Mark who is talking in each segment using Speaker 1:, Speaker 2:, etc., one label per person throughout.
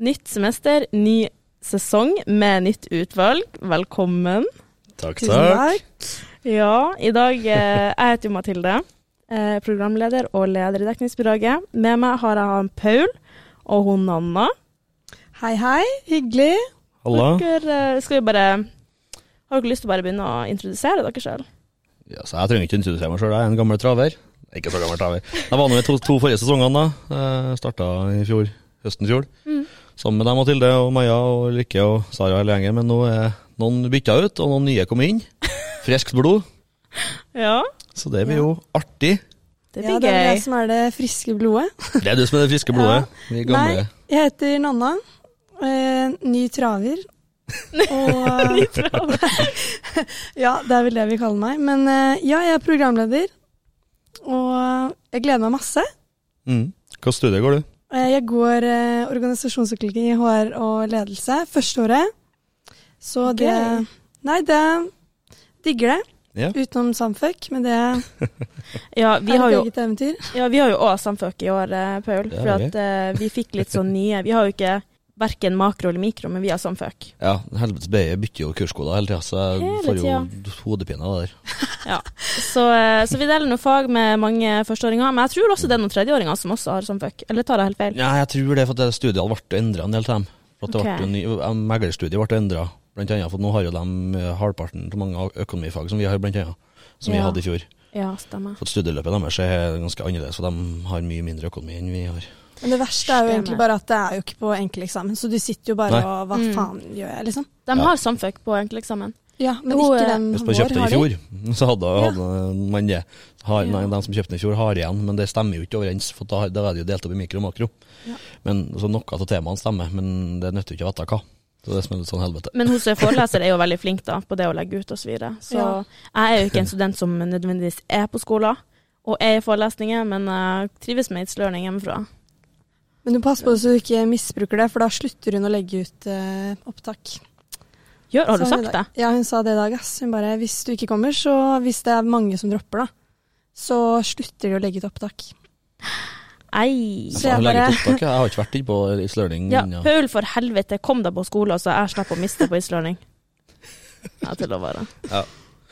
Speaker 1: Nytt semester, ny sesong med nytt utvalg. Velkommen.
Speaker 2: Takk,
Speaker 3: Tusen takk.
Speaker 1: Ja, i dag eh, Jeg heter jo Mathilde, eh, programleder og leder i dekningsbyrået. Med meg har jeg han Paul og hun Nanna.
Speaker 3: Hei, hei. Hyggelig.
Speaker 2: Halla.
Speaker 1: Dere eh, skal jo bare Har dere lyst til å bare begynne å introdusere dere sjøl?
Speaker 2: Ja, så jeg trenger ikke introdusere meg sjøl, jeg er en gammel traver. Ikke så gammel traver. Jeg var med i to, to forrige sesongene, da. Starta i fjor, høsten i fjor.
Speaker 3: Mm.
Speaker 2: Sammen med deg, Mathilde og Maja og Lykke og Sara hele gjengen. Men nå er noen bytta ut, og noen nye kom inn. Friskt blod.
Speaker 1: Ja,
Speaker 2: Så det blir jo artig.
Speaker 1: det
Speaker 3: ja,
Speaker 1: blir
Speaker 3: det er vel
Speaker 1: gøy.
Speaker 3: jeg som er det friske blodet.
Speaker 2: Det er du som er det friske blodet. Vi gamle.
Speaker 3: Nei, jeg heter Nanna. Eh, ny traver. Og eh, Ja, det er vel det vi kaller meg. Men eh, ja, jeg er programleder. Og eh, jeg gleder meg masse.
Speaker 2: Mm. Hvilket studie går du?
Speaker 3: Eh, Jeg går eh, organisasjonsutvikling i HR og ledelse første året. Så det
Speaker 1: Gøy.
Speaker 3: Nei, det digger det.
Speaker 2: Ja.
Speaker 3: Utenom Samfuck, men det er
Speaker 1: Ja, vi har
Speaker 3: et
Speaker 1: jo
Speaker 3: eget eventyr.
Speaker 1: Ja, vi har jo òg samfuck i år, eh, Paul.
Speaker 2: Det
Speaker 1: For
Speaker 2: har vi.
Speaker 1: at eh, vi fikk litt sånn nye Vi har jo ikke verken makro eller mikro, men vi har samfuck.
Speaker 2: Ja, helvetes BI bytter jo kurskoder hele tida, så jeg
Speaker 1: Hele
Speaker 2: får jo hodepine av det der.
Speaker 1: Så, eh, så vi deler noen fag med mange førsteåringer. Men jeg tror også det er noen tredjeåringer som også har samfuck. Eller tar jeg helt feil?
Speaker 2: Ja, jeg tror det, for at det studiet ble endra en del til dem. For at det
Speaker 1: Ok.
Speaker 2: ble jo ny, meglerstudiet ble endra, blant annet. For nå har jo de eh, halvparten så mange av økonomifag som vi har, blant annet. Som vi
Speaker 1: Ja.
Speaker 2: hadde i fjor.
Speaker 1: Ja, stemmer.
Speaker 2: For at studieløpet deres er ganske annerledes, og de har mye mindre økonomi enn vi har.
Speaker 3: Men det verste er jo
Speaker 1: Stemmer.
Speaker 3: egentlig bare at det er jo ikke på enkeleksamen, så du sitter jo bare
Speaker 2: Nei.
Speaker 3: og Hva
Speaker 1: Mm.
Speaker 3: faen gjør jeg, liksom?
Speaker 1: De
Speaker 2: Ja.
Speaker 1: har samfuck på enkelteksamen.
Speaker 3: Ja, men
Speaker 1: Jo, eh,
Speaker 3: ikke dem
Speaker 2: Hvis man kjøpte den i
Speaker 3: har de.
Speaker 2: fjor, så hadde,
Speaker 3: Ja.
Speaker 2: hadde man det. Har, nei,
Speaker 1: Ja.
Speaker 2: de som kjøpte den i fjor, har igjen, men det stemmer jo ikke overens. For da, har- da er det jo delt opp i mikro og makro.
Speaker 3: Ja.
Speaker 2: Men, så noe av temaene stemmer, men det nytter jo ikke å vite hva. Så det som er litt sånn helvete.
Speaker 1: Men hun som er foreleser, er jo veldig flink da, på det å legge ut og så videre. Så
Speaker 3: Ja.
Speaker 1: jeg er jo ikke en student som nødvendigvis er på skolen og er i forelesninger, men jeg trives med It's Learning hjemmefra.
Speaker 3: Men du passer på så du ikke misbruker det, for da slutter hun å legge ut eh, opptak.
Speaker 1: Gjør, har du
Speaker 3: Sa hun i
Speaker 1: sagt Sånn det?
Speaker 3: dag. Ja, hun sa det i dag, ass. Hun bare Hvis du ikke kommer, så Hvis det er mange som dropper, da, så slutter de å legge ut olegge opptak.
Speaker 1: Ei.
Speaker 3: Så
Speaker 2: Jeg,
Speaker 3: jeg
Speaker 2: bare...
Speaker 3: bare-
Speaker 2: jeg har ikke vært inne på It's Learning
Speaker 1: Ja,
Speaker 2: ennå.
Speaker 1: Paul, for helvete, kom deg på skolen, så jeg slipper å miste på islørning. Ja, til å være.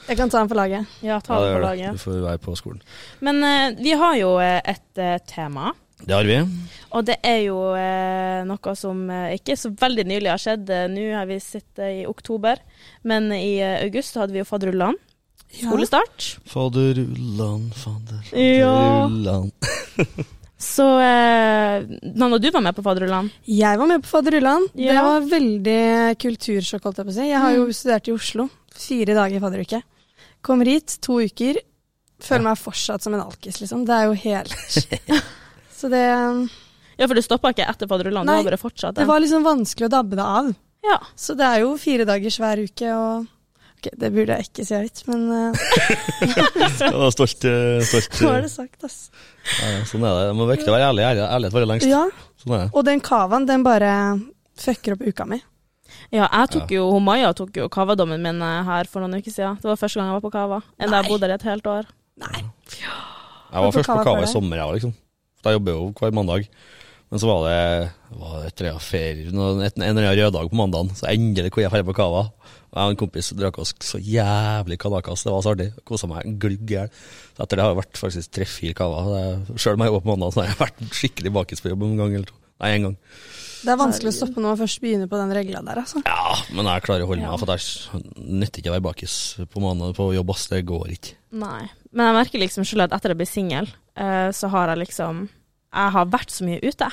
Speaker 3: Jeg kan ta den for laget.
Speaker 1: Ja, ta
Speaker 2: Ja,
Speaker 1: det
Speaker 2: gjør
Speaker 1: på
Speaker 2: det.
Speaker 1: laget.
Speaker 2: Du får være på skolen.
Speaker 1: Men eh, vi har jo eh, et eh, tema,
Speaker 2: Det har vi.
Speaker 1: og det er jo eh, noe som eh, ikke så veldig nylig har skjedd. Eh, Nå har vi sittet i oktober, men i eh, august hadde vi jo fadderullan. Skolestart.
Speaker 2: Faderullan, faderullan
Speaker 1: Ja. Så eh, Nanna, du var med på fadderullan.
Speaker 3: Jeg var med på fadderullan. Det
Speaker 1: Ja.
Speaker 3: var veldig kultursjokk, holdt jeg på å si. Jeg har jo studert i Oslo. Fire dager i fadderuke. Kommer hit, to uker. Føler meg fortsatt som en alkis, liksom. Det er jo helt Så det,
Speaker 1: Ja, for det stoppa ikke etter fadderullan, du
Speaker 3: Nei,
Speaker 1: har bare fortsatt
Speaker 3: det
Speaker 1: den.
Speaker 3: var liksom vanskelig å dabbe det av.
Speaker 1: Ja.
Speaker 3: Så det er jo fire dagers hver uke, og Ok, det burde jeg ikke si høyt, men eh,
Speaker 2: Jeg var stolt. eh, stolt.
Speaker 3: nå er det sagt, ass.
Speaker 2: Ja, ja, sånn er det. Det må viktig å være ærlig. ærlig ærlighet varer lengst.
Speaker 3: Ja,
Speaker 2: Sånn er det.
Speaker 3: og den kavaen, den bare fucker opp uka mi.
Speaker 1: Ja, jeg tok jo, hun Maja tok jo kavadommen min eh, her for noen uker siden. Det var første gang jeg var på kava. Enn da jeg
Speaker 3: Nei.
Speaker 1: bodde der i et helt år.
Speaker 3: Nei.
Speaker 2: Jeg var
Speaker 3: Hvorfor
Speaker 2: først på
Speaker 3: kava for
Speaker 2: Kava i
Speaker 3: deg?
Speaker 2: sommer, jeg òg, liksom. Da jobber jeg jo hver mandag. Men så var det var det tre av ferier, noen- et- en eller annen rød dag på mandagen, så endelig kunne jeg dra på Kava. Og Jeg og en kompis drakk oss så jævlig kanakas, det var så artig. Kosa meg glugg i hjel. Så etter det har jeg vært faktisk tre-fire Kava. Sjøl om jeg jobber på mandag, så har jeg vært skikkelig bakis på jobb en gang eller to. Nei, en gang.
Speaker 3: Det er vanskelig å stoppe når man først begynner på den regla der, altså.
Speaker 2: Ja, men jeg klarer å holde meg, for det nytter ikke å være bakis på mandag på jobb, ass. Det går ikke.
Speaker 1: Nei. Men jeg merker liksom selv at etter jeg blir singel, eh, så har jeg liksom Jeg har vært så mye ute.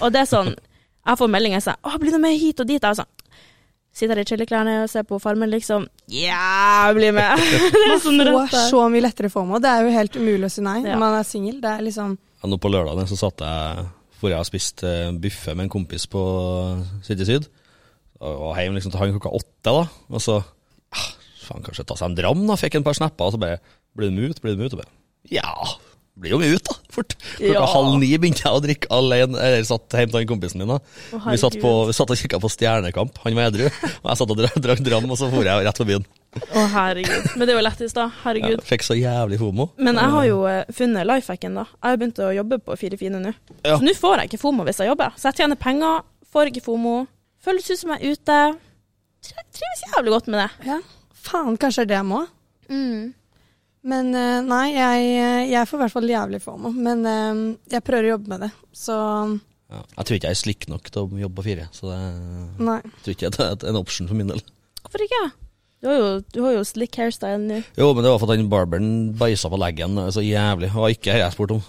Speaker 1: Og det er sånn Jeg får meldinger som sier 'Å, blir du med hit og dit?' Jeg er sånn Sitter her i chiliklærne og ser på Farmen, liksom. Ja, jeg blir med! det er sånn
Speaker 3: Få
Speaker 1: rett der.
Speaker 3: så mye lettere FOMO. Det er jo helt umulig å si nei
Speaker 1: Ja.
Speaker 3: når man er singel. Det er liksom
Speaker 2: Ja, nå på lørdagen så satt jeg hvor jeg har spist eh, buffe med en kompis på City Syd. Og var hjem liksom til han klokka åtte, da. Og så ah, faen, kanskje ta seg en dram, da. Fikk en par snapper, og så bare Blir du med ut? Blir du med ut? Og bare Ja, blir jo med ut, da. Fort. Klokka
Speaker 1: Ja.
Speaker 2: halv ni begynte jeg å drikke alene. Eller satt hjemme til han kompisen min, da.
Speaker 1: Å,
Speaker 2: vi, satt på,
Speaker 1: herregud.
Speaker 2: vi satt og kikka på Stjernekamp. Han var edru, og jeg satt og dra- drakk dram, og så for jeg rett på byen.
Speaker 1: Å, herregud. Men det er jo lettest, da.
Speaker 2: Ja,
Speaker 1: Herregud.
Speaker 2: fikk så jævlig fomo.
Speaker 1: Men jeg har jo eh, funnet lifehacken da. Jeg har begynt å jobbe på Fire fine nå.
Speaker 2: Ja.
Speaker 1: Så nå får jeg ikke FOMO hvis jeg jobber. Så jeg tjener penger Får ikke FOMO. Føles ut som jeg er ute. Tri- Trives jævlig godt med det.
Speaker 3: Ja. Faen, kanskje det er det jeg må.
Speaker 1: Mm.
Speaker 3: Men eh, nei, jeg, jeg får i hvert fall jævlig fomo. Men eh, jeg prøver å jobbe med det. Så
Speaker 2: Ja. Jeg tror ikke jeg er slik nok til å jobbe på fire, så det,
Speaker 3: nei.
Speaker 2: jeg tror ikke det er en option for min del.
Speaker 1: Hvorfor ikke? Du har jo, du har jo slick hairstyle nå.
Speaker 2: Jo, men det var for at den barberen beisa på leggen så jævlig. Det var ikke det jeg spurte om.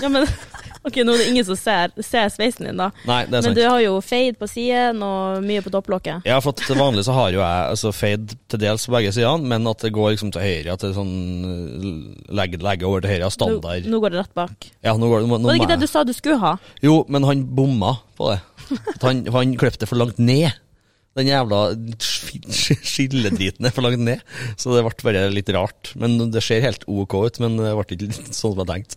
Speaker 1: Ja, men, ok, nå er det ingen som ser, ser sveisen din, da.
Speaker 2: Nei, det er
Speaker 1: Men
Speaker 2: sant.
Speaker 1: du har jo fade på siden og mye på topplokket.
Speaker 2: Ja, for at til vanlig så har jo jeg altså fade til dels på begge sidene, men at det går liksom til høyre, at det er sånn legge, legge over til høyre, standard.
Speaker 1: Nå, nå går det rett bak.
Speaker 2: Ja, nå går det, nå, nå
Speaker 1: Var det ikke
Speaker 2: må
Speaker 1: det du
Speaker 2: jeg-
Speaker 1: sa du skulle ha?
Speaker 2: Jo, men han bomma på det. At han han kløp det for langt ned. Den jævla sk- sk- skilledriten er for langt ned, så det ble bare litt rart. Men det ser helt ok ut, men det ble ikke sånn som jeg tenkte.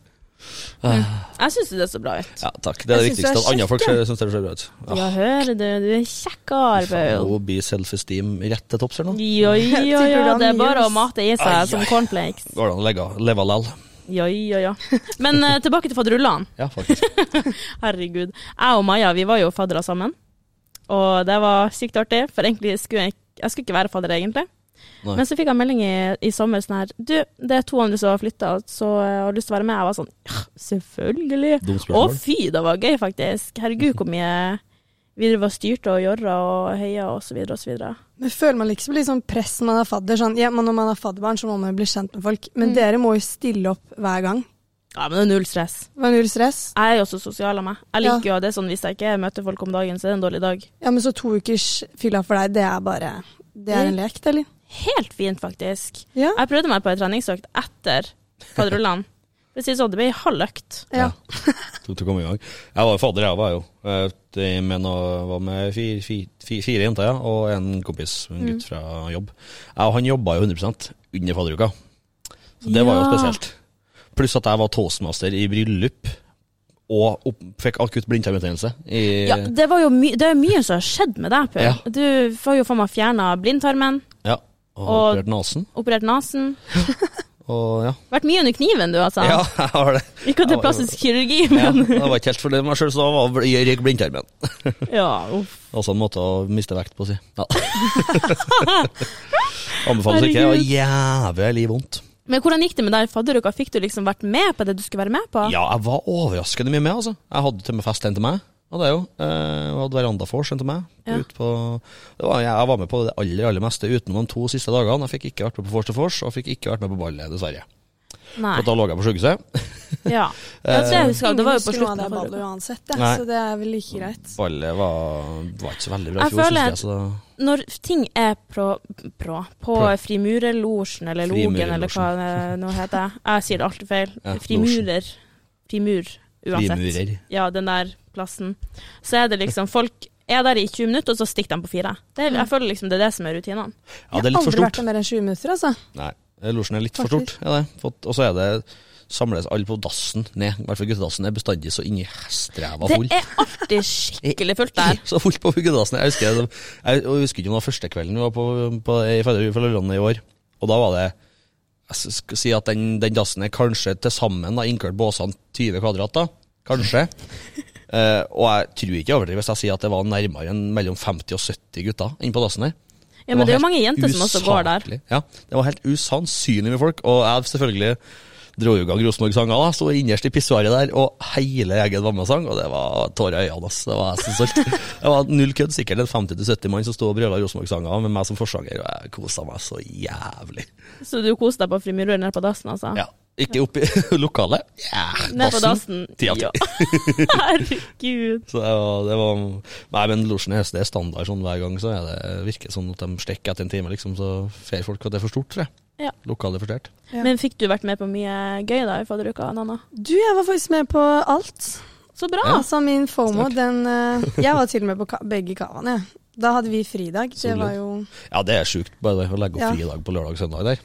Speaker 1: Jeg syns det så bra ut.
Speaker 2: Ja, takk. Det er det
Speaker 3: Jeg synes det er
Speaker 2: viktigste. At andre
Speaker 3: kjekt,
Speaker 2: folk
Speaker 3: ja.
Speaker 2: syns det ser bra ut.
Speaker 1: Ja, hører du. Du er kjekkere, Paul.
Speaker 2: Nå blir self-esteem rett til topps her nå.
Speaker 1: Jo, jo, jo,
Speaker 3: Tipper du han
Speaker 1: det er bare
Speaker 3: gjør
Speaker 1: å mate i
Speaker 2: Ai, ai.
Speaker 1: seg som cornflakes.
Speaker 2: Går det an å legge- leve lell?
Speaker 1: Jo, jo, jo. Men eh, tilbake til fadderullene.
Speaker 2: Ja, faktisk.
Speaker 1: Herregud. Jeg og Maja vi var jo faddere sammen, og det var sykt artig. For egentlig skulle jeg, jeg skulle ikke være fadder, egentlig.
Speaker 2: Nei.
Speaker 1: Men så fikk jeg melding i, i sommer sånn her Du, det er to andre som har flytta, så eh, har du lyst til å være med? Jeg var sånn ja, selvfølgelig.
Speaker 2: Dumt
Speaker 1: Å
Speaker 2: spørsmål.
Speaker 1: fy, det var gøy, faktisk. Herregud, hvor mye vi var styrte og jorda og heia og så videre og så videre.
Speaker 3: Men føler man liksom litt sånn press når man er fadder? Sånn, ja, men når man er fadderbarn, så må man jo bli kjent med folk. Men dere må jo stille opp hver gang.
Speaker 1: Ja, men det er null stress.
Speaker 3: Det var null stress.
Speaker 1: Jeg er jo også sosial av meg. Jeg liker jo at det er sånn hvis jeg ikke møter folk om dagen, så er det en dårlig dag.
Speaker 3: Ja, men så to ukers fylla for deg, det er bare Det er en lek, eller?
Speaker 1: Helt fint, faktisk.
Speaker 3: Ja.
Speaker 1: Jeg prøvde meg på ei treningsøkt etter fadderullan. For å si det sånn, det ble ei halv økt.
Speaker 3: Ja.
Speaker 2: Tok til å komme i gang. Jeg var jo fadder, jeg var jo. Eh, det- Men jeg var med fire, fire, fire, fire jenter ja, og en kompis, en
Speaker 3: Mm.
Speaker 2: gutt fra jobb. Jeg og han jobba jo 100 under fadderuka, så det var
Speaker 1: Ja.
Speaker 2: jo spesielt. Pluss at jeg var toastmaster i bryllup, og opp, fikk akutt blindtarmbetennelse. i-
Speaker 1: Ja, det, var jo my det er mye som har skjedd med deg, Pøl.
Speaker 2: Ja.
Speaker 1: Du får jo faen meg fjerna blindtarmen,
Speaker 2: ja. Og
Speaker 1: Og-
Speaker 2: operert nesen.
Speaker 1: operert nesen.
Speaker 2: Og ja.
Speaker 1: Vært mye under kniven, du, altså.
Speaker 2: ja, jeg har det.
Speaker 1: Ikke at det
Speaker 2: Ja,
Speaker 1: er plastisk kirurgi,
Speaker 2: Ja,
Speaker 1: men
Speaker 2: jeg var ikke helt fornøyd med meg sjøl, så da var bl- jeg røyk blindtarmen.
Speaker 1: Ja, uff.
Speaker 2: Altså en måte å miste vekt på, si. Ja. Anbefales ikke. Det var jævlig vondt.
Speaker 1: Men hvordan gikk det med deg i fadderuka? Fikk du liksom vært med på det du skulle være med på?
Speaker 2: Ja, jeg var overraskende mye med, altså. Jeg hadde til og med fest en til meg. Og det er jo. Eh, Jeg hadde verandafors en til meg.
Speaker 1: Ja.
Speaker 2: Ut på, det var, jeg var med på det aller aller meste utenom de to siste dagene. Jeg fikk ikke vært med på vors til vors, og fikk ikke vært med på ballet, dessverre.
Speaker 1: Nei.
Speaker 2: Og da lå jeg på Eh, sjukehuset.
Speaker 1: Ja. ja det husker jeg. Det var jo på
Speaker 3: Ingen husker noe av
Speaker 1: slutten
Speaker 3: det
Speaker 1: av
Speaker 3: ballet
Speaker 1: fadderuka.
Speaker 3: uansett, det,
Speaker 2: Nei.
Speaker 3: så det er vel like greit.
Speaker 2: Eh, Ballet var, var ikke så veldig bra
Speaker 1: Jeg
Speaker 2: i fjor,
Speaker 1: føler-
Speaker 2: syns jeg. Så da-
Speaker 1: Når ting er pro, pro, på
Speaker 2: Pro.
Speaker 1: frimurerlosjen, eller logen, eller hva det nå heter. Jeg sier det alltid feil.
Speaker 2: Ja,
Speaker 1: Frimurer. Frimur, uansett.
Speaker 2: frimurer.
Speaker 1: Ja, den der plassen. Så er det liksom Folk er der i 20 minutter, og så stikker de på fire. Det,
Speaker 2: Mm.
Speaker 1: er- jeg føler liksom det er det som er rutinene.
Speaker 2: Ja, det er litt for
Speaker 3: Jeg har aldri vært
Speaker 2: stort.
Speaker 3: der mer enn 20 minutter, altså.
Speaker 2: Nei, losjen er litt for stort. Ja, det. Fått- Og så er det samles alle på dassen ned. I hvert fall guttedassen er bestandig så inni streva full.
Speaker 1: Det er alltid skikkelig fullt der.
Speaker 2: Så fullt på guttedassen. Jeg husker, det- jeg, jeg husker ikke om det var første kvelden vi var på, på, i Fedrelandet i år. Og da var det Jeg s- skal si at den, den dassen er kanskje til sammen, da, inkludert båsene, 20 kvadrat. da, Kanskje. Eh, og jeg tror ikke jeg overdriver hvis jeg sier at det var nærmere enn mellom 50 og 70 gutter inne på dassen der.
Speaker 1: Ja, men det er jo
Speaker 2: var
Speaker 1: mange
Speaker 2: helt
Speaker 1: jenter som også går der.
Speaker 2: usaklig. Ja, det var helt usannsynlig med folk. Og jeg selvfølgelig dro jo i gang Rosenborg-sanger, da. Sto innerst i pissoaret der, og hele gjengen var med og sang. Og det var tårer i øynene, ass. Det var jeg så stolt. Det var null kødd, sikkert en 50-70 mann som sto og brøla Rosenborg-sanger med meg som forsanger, og jeg kosa meg så jævlig.
Speaker 1: Så du koser deg på frimureren nede på dassen, altså?
Speaker 2: Ja. Ikke oppe i lokalet, ja,
Speaker 1: Nede på dassen.
Speaker 2: Ti av ti.
Speaker 1: Ja. Herregud.
Speaker 2: Så det var, det var Nei, men losjen i høst det er standard sånn hver gang, så er det virker sånn at de stikker etter en time, liksom, så fer folk at det er for stort, tror jeg.
Speaker 1: Ja.
Speaker 2: Lokalet er for stort.
Speaker 3: Ja.
Speaker 1: Men fikk du vært med på mye gøy da i fadderuka, Nanna?
Speaker 3: Du, jeg var faktisk med på alt.
Speaker 1: Så bra!
Speaker 3: Altså, min FOMO,
Speaker 2: Sterkt.
Speaker 3: den eh, Jeg var til og med på ka begge kavaene, jeg. Da hadde vi fridag. Det
Speaker 2: Solid.
Speaker 3: var jo
Speaker 2: Ja, det er sjukt bare det, å legge opp
Speaker 3: Ja.
Speaker 2: fridag på lørdag og søndag der.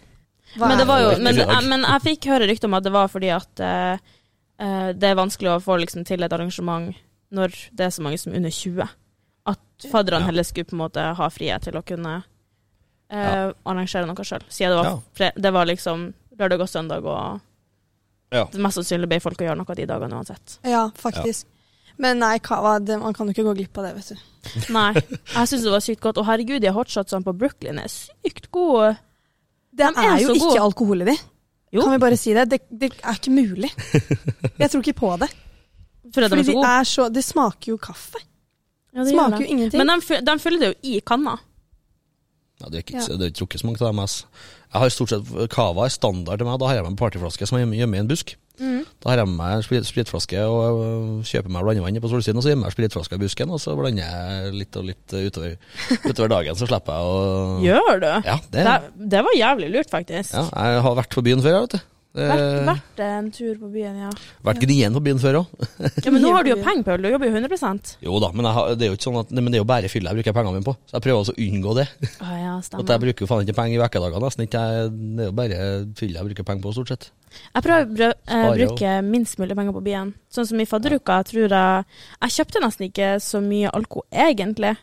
Speaker 3: hva
Speaker 1: men,
Speaker 3: er
Speaker 1: det var jo,
Speaker 2: det?
Speaker 1: men,
Speaker 2: Ikke i dag.
Speaker 1: men jeg fikk høre rykte om at det var fordi at eh, eh, det er vanskelig å få liksom, til et arrangement når det er så mange som er under 20. At fadderne
Speaker 2: Ja.
Speaker 1: heller skulle på en måte ha frihet til å kunne eh,
Speaker 2: Ja.
Speaker 1: arrangere noe sjøl. Siden det var,
Speaker 2: Ja.
Speaker 1: fre det var liksom lørdag og søndag, og
Speaker 2: Ja.
Speaker 1: det mest sannsynlig ble folk å gjøre noe de dagene uansett.
Speaker 3: Ja, faktisk. Men nei, kava, det, man kan jo ikke gå glipp av det, vet du.
Speaker 1: Nei. Jeg syns det var sykt godt. Og herregud, de hotshotsene sånn på Brooklyn er sykt gode.
Speaker 3: Det
Speaker 1: De er
Speaker 3: er jo
Speaker 1: så gode.
Speaker 3: ikke alkohol i de.
Speaker 1: Jo.
Speaker 3: Kan vi bare si det? det? Det er ikke mulig. Jeg tror ikke på det.
Speaker 1: Fordi de
Speaker 3: Fordi
Speaker 1: er så
Speaker 3: de,
Speaker 1: gode.
Speaker 3: er så, de smaker jo kaffe.
Speaker 1: Ja, det gjør
Speaker 3: Smaker
Speaker 1: det.
Speaker 3: jo ingenting.
Speaker 1: Men de, fy- de fyller det jo i kanna.
Speaker 2: Ja, det er ikke, det er ikke drukket så mange av dem. ass. Jeg har stort sett Cava er standard til meg. Da har jeg med meg en partyflaske som jeg gjemmer- gjemmer i en busk.
Speaker 3: Mm.
Speaker 1: mm.
Speaker 2: Da har jeg med meg en sprit- spritflaske og øh, kjøper meg blandevann på solsiden, og så gjemmer jeg spritflaska i busken, og så blander jeg litt og litt øh, utover, utover dagen, så slipper jeg å
Speaker 1: Gjør du?
Speaker 2: Ja, det,
Speaker 1: Det, det var jævlig lurt, faktisk.
Speaker 2: ja, jeg har vært på byen før, jeg, vet du.
Speaker 1: Vært,
Speaker 2: Eh,
Speaker 1: vært en tur på byen, ja.
Speaker 2: vært gnien på byen før òg.
Speaker 1: ja men nå har du jo penger, Paul. Du jobber jo 100
Speaker 2: Jo da, men, jeg har, det er jo ikke sånn at, nei, men det er jo bare fylla jeg bruker pengene mine på. Så jeg prøver også å unngå det.
Speaker 1: Å ja,
Speaker 2: At jeg
Speaker 1: stemmer.
Speaker 2: bruker jo faen ikke penger i ukedagene, nesten ikke. Jeg, det er jo bare fylla jeg bruker penger på, stort sett.
Speaker 1: Jeg prøver å brø- eh,
Speaker 2: Sparer jo.
Speaker 1: bruke minst mulig penger på byen. Sånn som i fadderuka, jeg tror jeg Jeg kjøpte nesten ikke så mye alko, egentlig.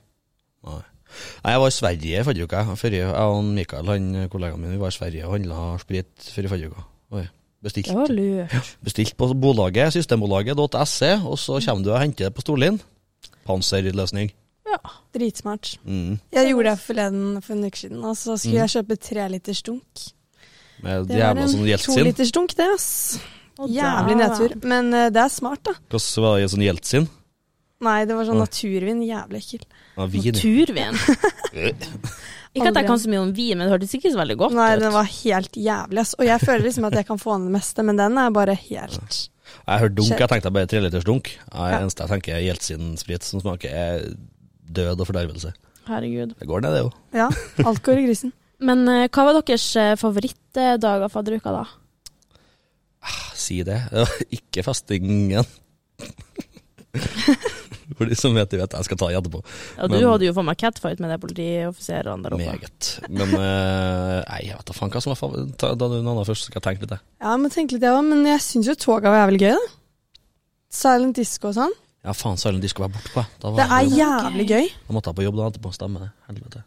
Speaker 2: Nei. Nei, jeg var i Sverige i forrige uke. jeg. Forrige, jeg og Mikael, han kollegaen min, vi var i Sverige og handla sprit før i forrige uke. Oi. Bestilt.
Speaker 1: Det var lurt.
Speaker 2: Bestilt på bolaget, systembolaget.se, og så kommer du og henter det på Storlien. Panserløsning.
Speaker 3: Dritsmart.
Speaker 2: Mm.
Speaker 3: Jeg gjorde det forleden for en uke siden, og så skulle
Speaker 1: Mm.
Speaker 3: jeg kjøpe tre liters dunk.
Speaker 2: Med
Speaker 3: Det var
Speaker 2: jævla
Speaker 3: en
Speaker 2: sånn
Speaker 3: to
Speaker 2: Jeltsin.
Speaker 3: liters dunk, det, ass.
Speaker 1: Og
Speaker 3: Jævlig
Speaker 1: da-
Speaker 3: nedtur. Men eh, det er smart, da.
Speaker 2: Hvordan var det i sånn Jeltsin?
Speaker 3: Nei, det var sånn
Speaker 2: Nei.
Speaker 3: naturvin. Jævlig ekkel.
Speaker 2: Ja, vin.
Speaker 1: Naturvin. Ikke at jeg
Speaker 3: Aldri.
Speaker 1: kan så mye om vin, men det hørtes ikke så veldig godt
Speaker 3: Nei,
Speaker 1: ut.
Speaker 3: den var helt jævlig, ass. Og jeg føler liksom at jeg kan få ned det meste, men den er bare helt
Speaker 2: Jeg hørte dunk, jeg tenkte bare treliters dunk. Jeg
Speaker 3: Ja.
Speaker 2: eneste jeg tenker er Jeltsin-sprit som smaker er død og fordervelse.
Speaker 1: Herregud.
Speaker 2: Det går ned, det jo.
Speaker 3: Ja, alt går i grisen.
Speaker 1: Men eh, hva var deres eh, favorittdag av fadderuka, da?
Speaker 2: Si det. Det var Ikke festingen. For de som vet, de vet. Jeg skal ta det etterpå.
Speaker 1: Ja, du
Speaker 2: Men-
Speaker 1: hadde jo fått meg catfight med de politioffiserene der oppe.
Speaker 2: Meget. Men eh, nei, jeg vet da faen hva som var favoritt. Ta ta den andre først, så skal jeg tenke litt. jeg.
Speaker 3: Ja, jeg må tenke litt, jeg òg, men jeg syns jo toga var jævlig gøy, da. Silent disco og sånn.
Speaker 2: Ja, faen søren, de skal være borte på. jeg. Da,
Speaker 3: Det
Speaker 2: var,
Speaker 3: er
Speaker 2: jeg-
Speaker 3: jævlig gøy.
Speaker 2: da måtte jeg på jobb da etterpå. Stemmer det. Helvete.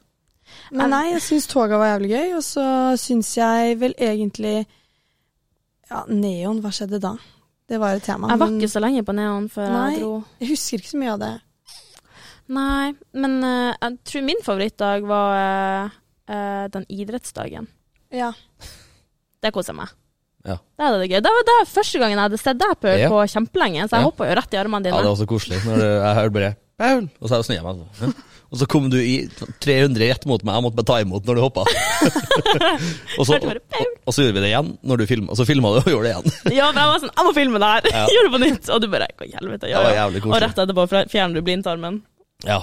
Speaker 3: Men nei, jeg syns toga var jævlig gøy, og så syns jeg vel egentlig Ja, neon, hva skjedde da? Det var et tema.
Speaker 1: Jeg var
Speaker 3: men
Speaker 1: ikke så lenge på neon før
Speaker 3: Nei.
Speaker 1: jeg dro.
Speaker 3: jeg husker ikke så mye av det.
Speaker 1: Nei, men eh, jeg tror min favorittdag var eh, eh, den idrettsdagen.
Speaker 3: Ja.
Speaker 1: Det koser jeg meg.
Speaker 2: Ja.
Speaker 1: Det hadde det gøy. Det var det første gangen jeg hadde sett deg Paul,
Speaker 2: Ja.
Speaker 1: på kjempelenge, så jeg
Speaker 2: Ja.
Speaker 1: hoppa jo rett i armene
Speaker 2: Ja, det
Speaker 1: dine.
Speaker 2: var så koselig. Når jeg hørte bare Paul! Og så snudde jeg meg. sånn, «Hæ?» Og så kom du i 300 rett mot meg, jeg måtte bare ta imot når du hoppa. og, så,
Speaker 1: Hørte bare,
Speaker 2: og, og så gjorde vi det igjen, når du filma. Og så filma du og gjorde det igjen.
Speaker 1: Ja, men jeg var sånn Jeg må filme det her!
Speaker 2: Ja.
Speaker 1: Gjør det på nytt! Og du bare Hva i helvete? Ja,
Speaker 2: Det var
Speaker 1: ja.
Speaker 2: jævlig
Speaker 1: Og
Speaker 2: koselig.
Speaker 1: rett etterpå fra- fjerner du blindtarmen.
Speaker 2: Ja.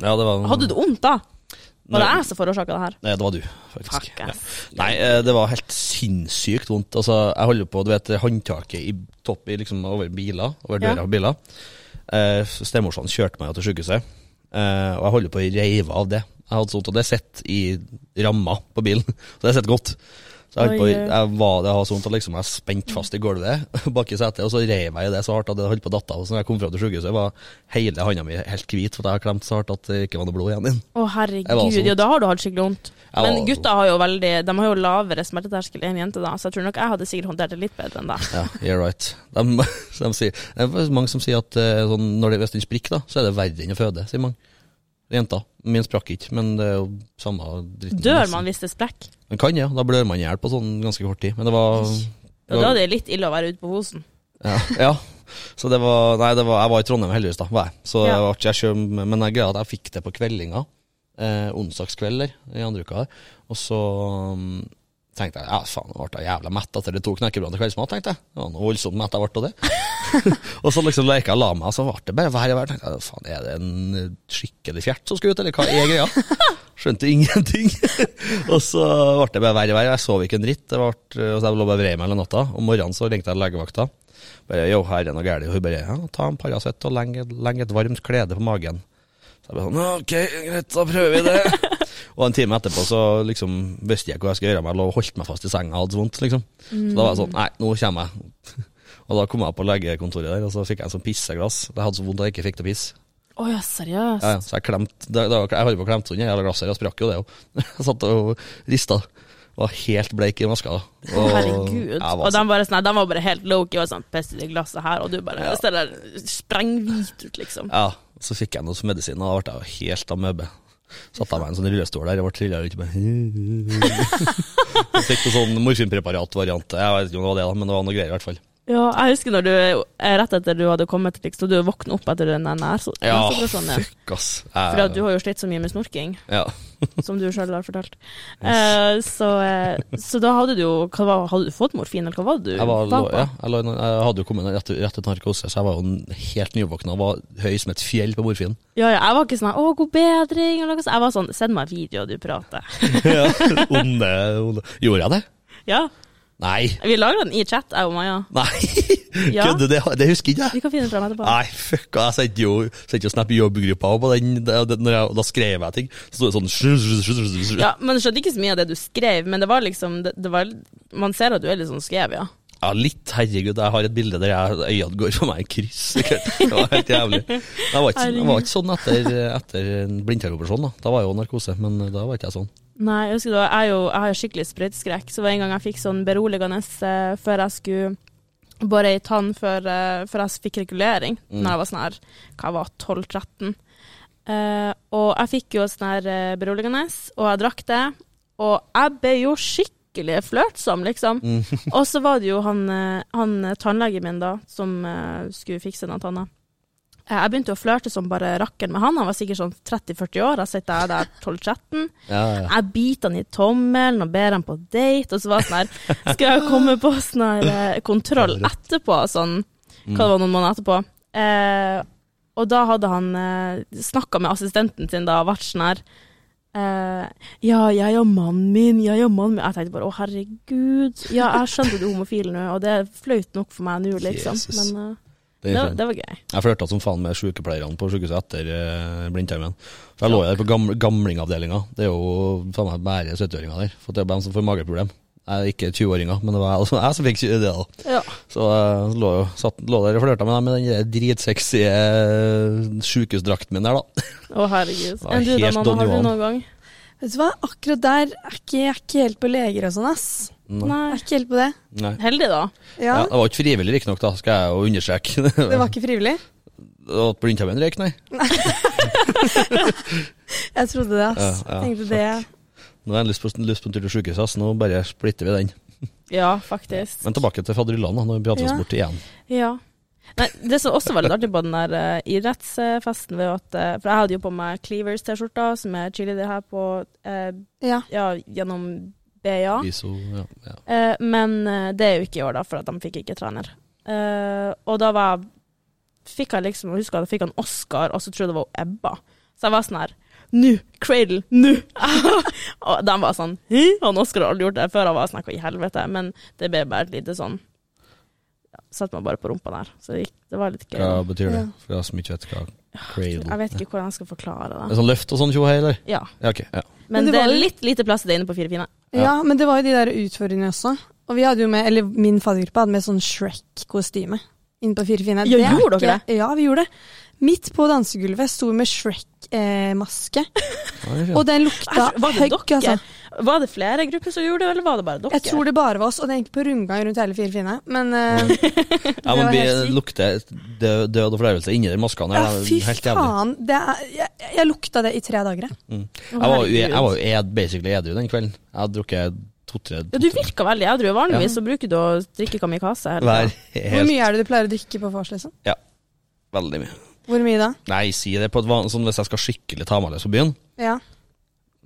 Speaker 2: ja, det var
Speaker 1: Hadde du vondt da? Var det
Speaker 2: Mm. Nei.
Speaker 1: jeg som forårsaka det her?
Speaker 2: Nei, det var du, faktisk.
Speaker 1: Fuck, ass.
Speaker 2: Nei, eh, det var helt sinnssykt vondt. Altså, jeg holder på, du vet, håndtaket i topp i liksom, over biler, over
Speaker 1: Ja.
Speaker 2: døra på biler. Eh, Stemorsan kjørte meg jo til sykehuset, eh, og jeg holder på å reive av det. Jeg hadde sånt, og det sitter i ramma på bilen, så det sitter godt. Så jeg, holdt på,
Speaker 1: Oi, oi.
Speaker 2: jeg var det hadde sånt, og liksom jeg spent fast i gulvet bak i setet, og så reiv jeg i det så hardt at det holdt på å datte av. Så når jeg kom fram til sykehuset, var hele handa mi helt hvit, for jeg hadde klemt så hardt at det ikke var noe blod igjen.
Speaker 1: Å,
Speaker 2: Jeg var
Speaker 1: herregud.
Speaker 2: så
Speaker 1: Ja, da har du hatt skikkelig vondt.
Speaker 2: Jeg
Speaker 1: Men
Speaker 2: var-
Speaker 1: gutta har jo veldig De har jo lavere smerteterskel enn jenter, da, så jeg tror nok jeg hadde sikkert håndtert det litt bedre enn deg.
Speaker 2: Ja, you're right. De, de sier, det er faktisk mange som sier at eh, sånn, når det, hvis den sprikker, da, så er det verre enn å føde, sier mange. Jenta. Min sprakk ikke, men det er jo samme dritten.
Speaker 1: Dør man hvis det sprekker?
Speaker 2: Man kan, ja. Da blør man i hjel på sånn ganske kort tid. Men det var
Speaker 1: Ja, da er det litt ille å være ute på hosen.
Speaker 2: ja, ja. Så det var Nei, det var, jeg var i Trondheim heldigvis, da. Var jeg. Så det
Speaker 1: Ja.
Speaker 2: var artig. Jeg kjøm, men jeg greia at jeg fikk det på kveldinga. Eh, onsdagskvelder i andre uka. der. Og så mm, tenkte jeg ja, faen, jeg ble jævla mett etter de to knekkebrødene til kveldsmat. tenkte jeg. Det var noe voldsomt mett jeg ble av det. og så liksom leka jeg la meg, og så ble det bare vær i vær. Tenkte jeg, faen, er det en eh, skikkelig fjert som skal ut, eller hva er greia? Skjønte ingenting. og så ble det bare vær i vær. Jeg sov ikke en dritt. Det ble, eh, og så jeg lå bare og vrei meg hele natta. Om morgenen så ringte jeg legevakta. Bare, jo, her er noe gærlig. Og hun bare, ja, ta en Paracet og legg legg et varmt klede på magen. Så jeg bare sånn, ok, greit, da prøver vi det. og en time etterpå så liksom visste jeg ikke hva jeg skulle gjøre, men jeg lå og holdt meg fast i senga, jeg hadde så vondt, liksom. Så da var jeg sånn, nei, nå kommer jeg. og da kom jeg på legekontoret der, og så fikk jeg en sånn pisseglass. Jeg hadde så vondt at jeg ikke fikk til piss.
Speaker 1: Å ja, seriøst?
Speaker 2: Ja, ja, så jeg klemte, da, da, jeg holdt på å klemte under hele glasset, og sprakk jo det jo. jeg satt og rista. Var helt bleik i maska. da.
Speaker 1: Å, Herregud.
Speaker 2: jeg var
Speaker 1: Og de
Speaker 2: så-
Speaker 1: var, sånn, nei, de var bare helt low-key og sånn Pest i det glasset her, og du bare
Speaker 2: Ja.
Speaker 1: ja. der sprenghvit ut, liksom.
Speaker 2: Ja, så fikk jeg noe medisin, og da ble jeg jo helt amøbe. Satte jeg meg i en sånn rullestol der, jeg ble trilla rundt med Jeg Fikk noe sånn morfinpreparat-variant. Jeg vet ikke om det var det, da, men det var noe greier i hvert fall.
Speaker 1: Ja, jeg husker når du eh, Rett etter du hadde kommet, liksom, du våkna opp etter den der nær, så,
Speaker 2: Ja,
Speaker 1: sånn, ja.
Speaker 2: fuck, ass.
Speaker 1: For
Speaker 2: Jeg,
Speaker 1: at du har jo slitt så mye med snorking,
Speaker 2: ja.
Speaker 1: som du sjøl har fortalt. Eh, så, eh, så da hadde du jo hva, var- Hadde du fått morfin, eller hva var det du
Speaker 2: Jeg, var,
Speaker 1: var
Speaker 2: lå-
Speaker 1: på?
Speaker 2: ja, jeg, lå i noen- jeg hadde jo kommet rett, rett etter narkose, så jeg var jo n- helt nyvåkna. Var høy som et fjell på morfin.
Speaker 1: Ja, ja, jeg var ikke sånn 'Å, god bedring', eller noe sånt. Jeg var sånn 'Send meg video, du prater'.
Speaker 2: Ja, onde, onde. Gjorde jeg det?
Speaker 1: Ja.
Speaker 2: Nei.
Speaker 1: Vi lagra den i chat, jeg og Maja.
Speaker 2: Nei,
Speaker 1: Ja.
Speaker 2: kødder det, det husker ikke jeg.
Speaker 1: Vi kan finne den fram etterpå.
Speaker 2: Nei, fuck, og jeg sendte jo, sendte jo snap i jobbgruppa og på den, da, da- når jeg, da skrev jeg ting. Så sto det sånn sju, sju, sju, sju, sju.
Speaker 1: Ja, men jeg skjønte ikke så mye av det du skrev, men det var liksom det, det var, Man ser at du er litt sånn skrev, ja.
Speaker 2: ja, litt, herregud, jeg har et bilde der jeg, øynene går for meg i kryss. sikkert. Det var helt jævlig. Jeg var ikke, jeg var ikke sånn etter, etter en blindtarmoperasjon, da. Da var jeg jo narkose, men da var ikke jeg sånn.
Speaker 1: Nei, jeg husker da, jeg, er jo, jeg har jo skikkelig sprøyteskrekk, så det var en gang jeg fikk sånn beroligende eh, før jeg skulle bore ei tann før, eh, før jeg fikk regulering, når jeg var sånn her, hva jeg var 12-13. Eh, og jeg fikk jo sånn her eh, beroligende, og jeg drakk det, og jeg ble jo skikkelig flørtsom, liksom. og så var det jo han, eh, han eh, tannlegen min da, som eh, skulle fikse den tanna. Eh, Jeg begynte å flørte som bare rakken med han. Han var sikkert sånn 30-40 år. Jeg sitter jeg der 12-13.
Speaker 2: Ja, ja.
Speaker 1: Jeg biter han i tommelen og ber han på date, og så var det sånn her Skal jeg komme på sånn her eh, kontroll etterpå, sånn
Speaker 2: Mm.
Speaker 1: Hva det var noen måneder etterpå. Eh, og da hadde han eh, snakka med assistenten sin da og vært sånn her eh, Ja, jeg og mannen min, jeg og mannen min Jeg tenkte bare å herregud. Ja, jeg skjønte du er homofil nå, og det er flaut nok for meg nå, liksom.
Speaker 2: Jesus.
Speaker 1: Men eh,
Speaker 2: Det
Speaker 1: det,
Speaker 2: er
Speaker 1: var- det var gøy.
Speaker 2: Jeg flørta som faen med sykepleierne på sykehuset etter eh, blindtarmen. For jeg lå jo der på gam gamlingavdelinga. Det er jo faen meg bare 70-åringer der. For det er dem som får mageproblem. Jeg er ikke 20-åringer, men det var jeg, jeg som fikk det. da.
Speaker 1: Ja.
Speaker 2: Så jeg lå, jo, satt, lå der og flørta med dem med den der dritsexy eh, sykehusdrakten min der, da.
Speaker 1: Å herregud.
Speaker 2: var
Speaker 1: Enn du da,
Speaker 2: helt
Speaker 1: mamma? Har
Speaker 2: Don
Speaker 1: du
Speaker 2: Juan.
Speaker 1: noen gang?
Speaker 3: Vet du hva, akkurat der er ikke, jeg er ikke helt på leger og sånn, ass. Jeg
Speaker 1: Nei.
Speaker 3: er ikke helt på det.
Speaker 2: Nei.
Speaker 1: Heldig, da.
Speaker 3: Ja,
Speaker 2: Ja, det var ikke frivillig, riktignok, da, skal jeg jo understreke.
Speaker 3: Det var ikke frivillig.
Speaker 2: At blindtarmen røyk, nei.
Speaker 3: Jeg trodde det, ass.
Speaker 2: Ja, ja,
Speaker 3: Tenkte det.
Speaker 2: Nå har jeg lyst på, lyst på en tur til sykehuset, ass. nå bare splitter vi den.
Speaker 1: Ja, faktisk.
Speaker 2: Men tilbake til fadderullan, da, når vi prater
Speaker 3: Ja.
Speaker 2: oss bort igjen.
Speaker 1: Ja. Nei, det som også var litt artig på den der eh, idrettsfesten, var jo at eh, For jeg hadde jo på meg Cleavers-T-skjorta, som er cheerleader her på eh,
Speaker 3: Ja.
Speaker 1: Ja, gjennom BA.
Speaker 2: Iso, ja, ja.
Speaker 1: Eh, men eh, det er jo ikke i år, da, for at de fikk ikke trener. Eh, og da var jeg Fikk jeg liksom Jeg husker at jeg fikk en Oscar, og så trodde jeg det var Ebba. Så jeg var sånn her Nå! Cradle! Nå! og de var sånn Hæ? Han Oscar har aldri gjort det før. Jeg var sånn Hva i helvete? Men det ble bare et lite sånn ja, Satte meg bare på rumpa der. Så det, gikk, det var litt gøy.
Speaker 2: Hva betyr det?
Speaker 3: Ja. Ah,
Speaker 2: For jeg som ikke vet hva cradle
Speaker 1: Jeg vet ikke hvordan jeg skal forklare
Speaker 2: Det
Speaker 1: det.
Speaker 2: er sånn løft og sånn tjo hei, eller?
Speaker 1: Ja.
Speaker 2: Ja, ok. Ja.
Speaker 1: Men,
Speaker 3: Men det
Speaker 1: det
Speaker 3: var
Speaker 1: er
Speaker 3: jo-
Speaker 1: litt lite plass til det inne på Fire fine.
Speaker 2: Ja.
Speaker 3: ja, men det var jo de der utfordringene også. Og vi hadde jo med, eller min faddergruppe hadde med sånn Shrek-kostyme inne på Fire fine.
Speaker 1: Ja,
Speaker 3: er
Speaker 1: gjorde dere
Speaker 3: ikke- Ja, vi gjorde det. Midt på dansegulvet sto vi med Shrek-maske,
Speaker 2: Ja, det er fint.
Speaker 3: og den lukta
Speaker 1: Æsj, var det
Speaker 3: høgg,
Speaker 1: dere?
Speaker 3: altså.
Speaker 1: Var det flere grupper som gjorde det, eller var det bare dere?
Speaker 3: Jeg tror det bare var oss, og den gikk på rundgang rundt hele Fire fine. Men eh,
Speaker 2: ja, men
Speaker 3: var
Speaker 2: vi
Speaker 3: helt sykt.
Speaker 2: lukter død, død og fordervelse inni den maska.
Speaker 3: ja,
Speaker 2: der. Det er
Speaker 3: fy
Speaker 2: helt jævlig.
Speaker 3: faen. Det er, jeg, jeg lukta det i tre dager. jeg.
Speaker 2: Jeg var, jo- e-
Speaker 1: herregud.
Speaker 2: jeg var jo ed, basically edru den kvelden. Jeg hadde drukket to-tre
Speaker 1: Ja, du virka veldig edru. Vanligvis så bruker du å drikke kamikaze. hele
Speaker 2: Vær
Speaker 1: tiden.
Speaker 3: Hvor
Speaker 2: helt
Speaker 3: mye er det du pleier å drikke på vors, liksom?
Speaker 2: Veldig mye.
Speaker 3: Hvor mye da?
Speaker 2: Nei, si det på et van sånn hvis jeg skal skikkelig ta meg løs på byen.
Speaker 3: Ja.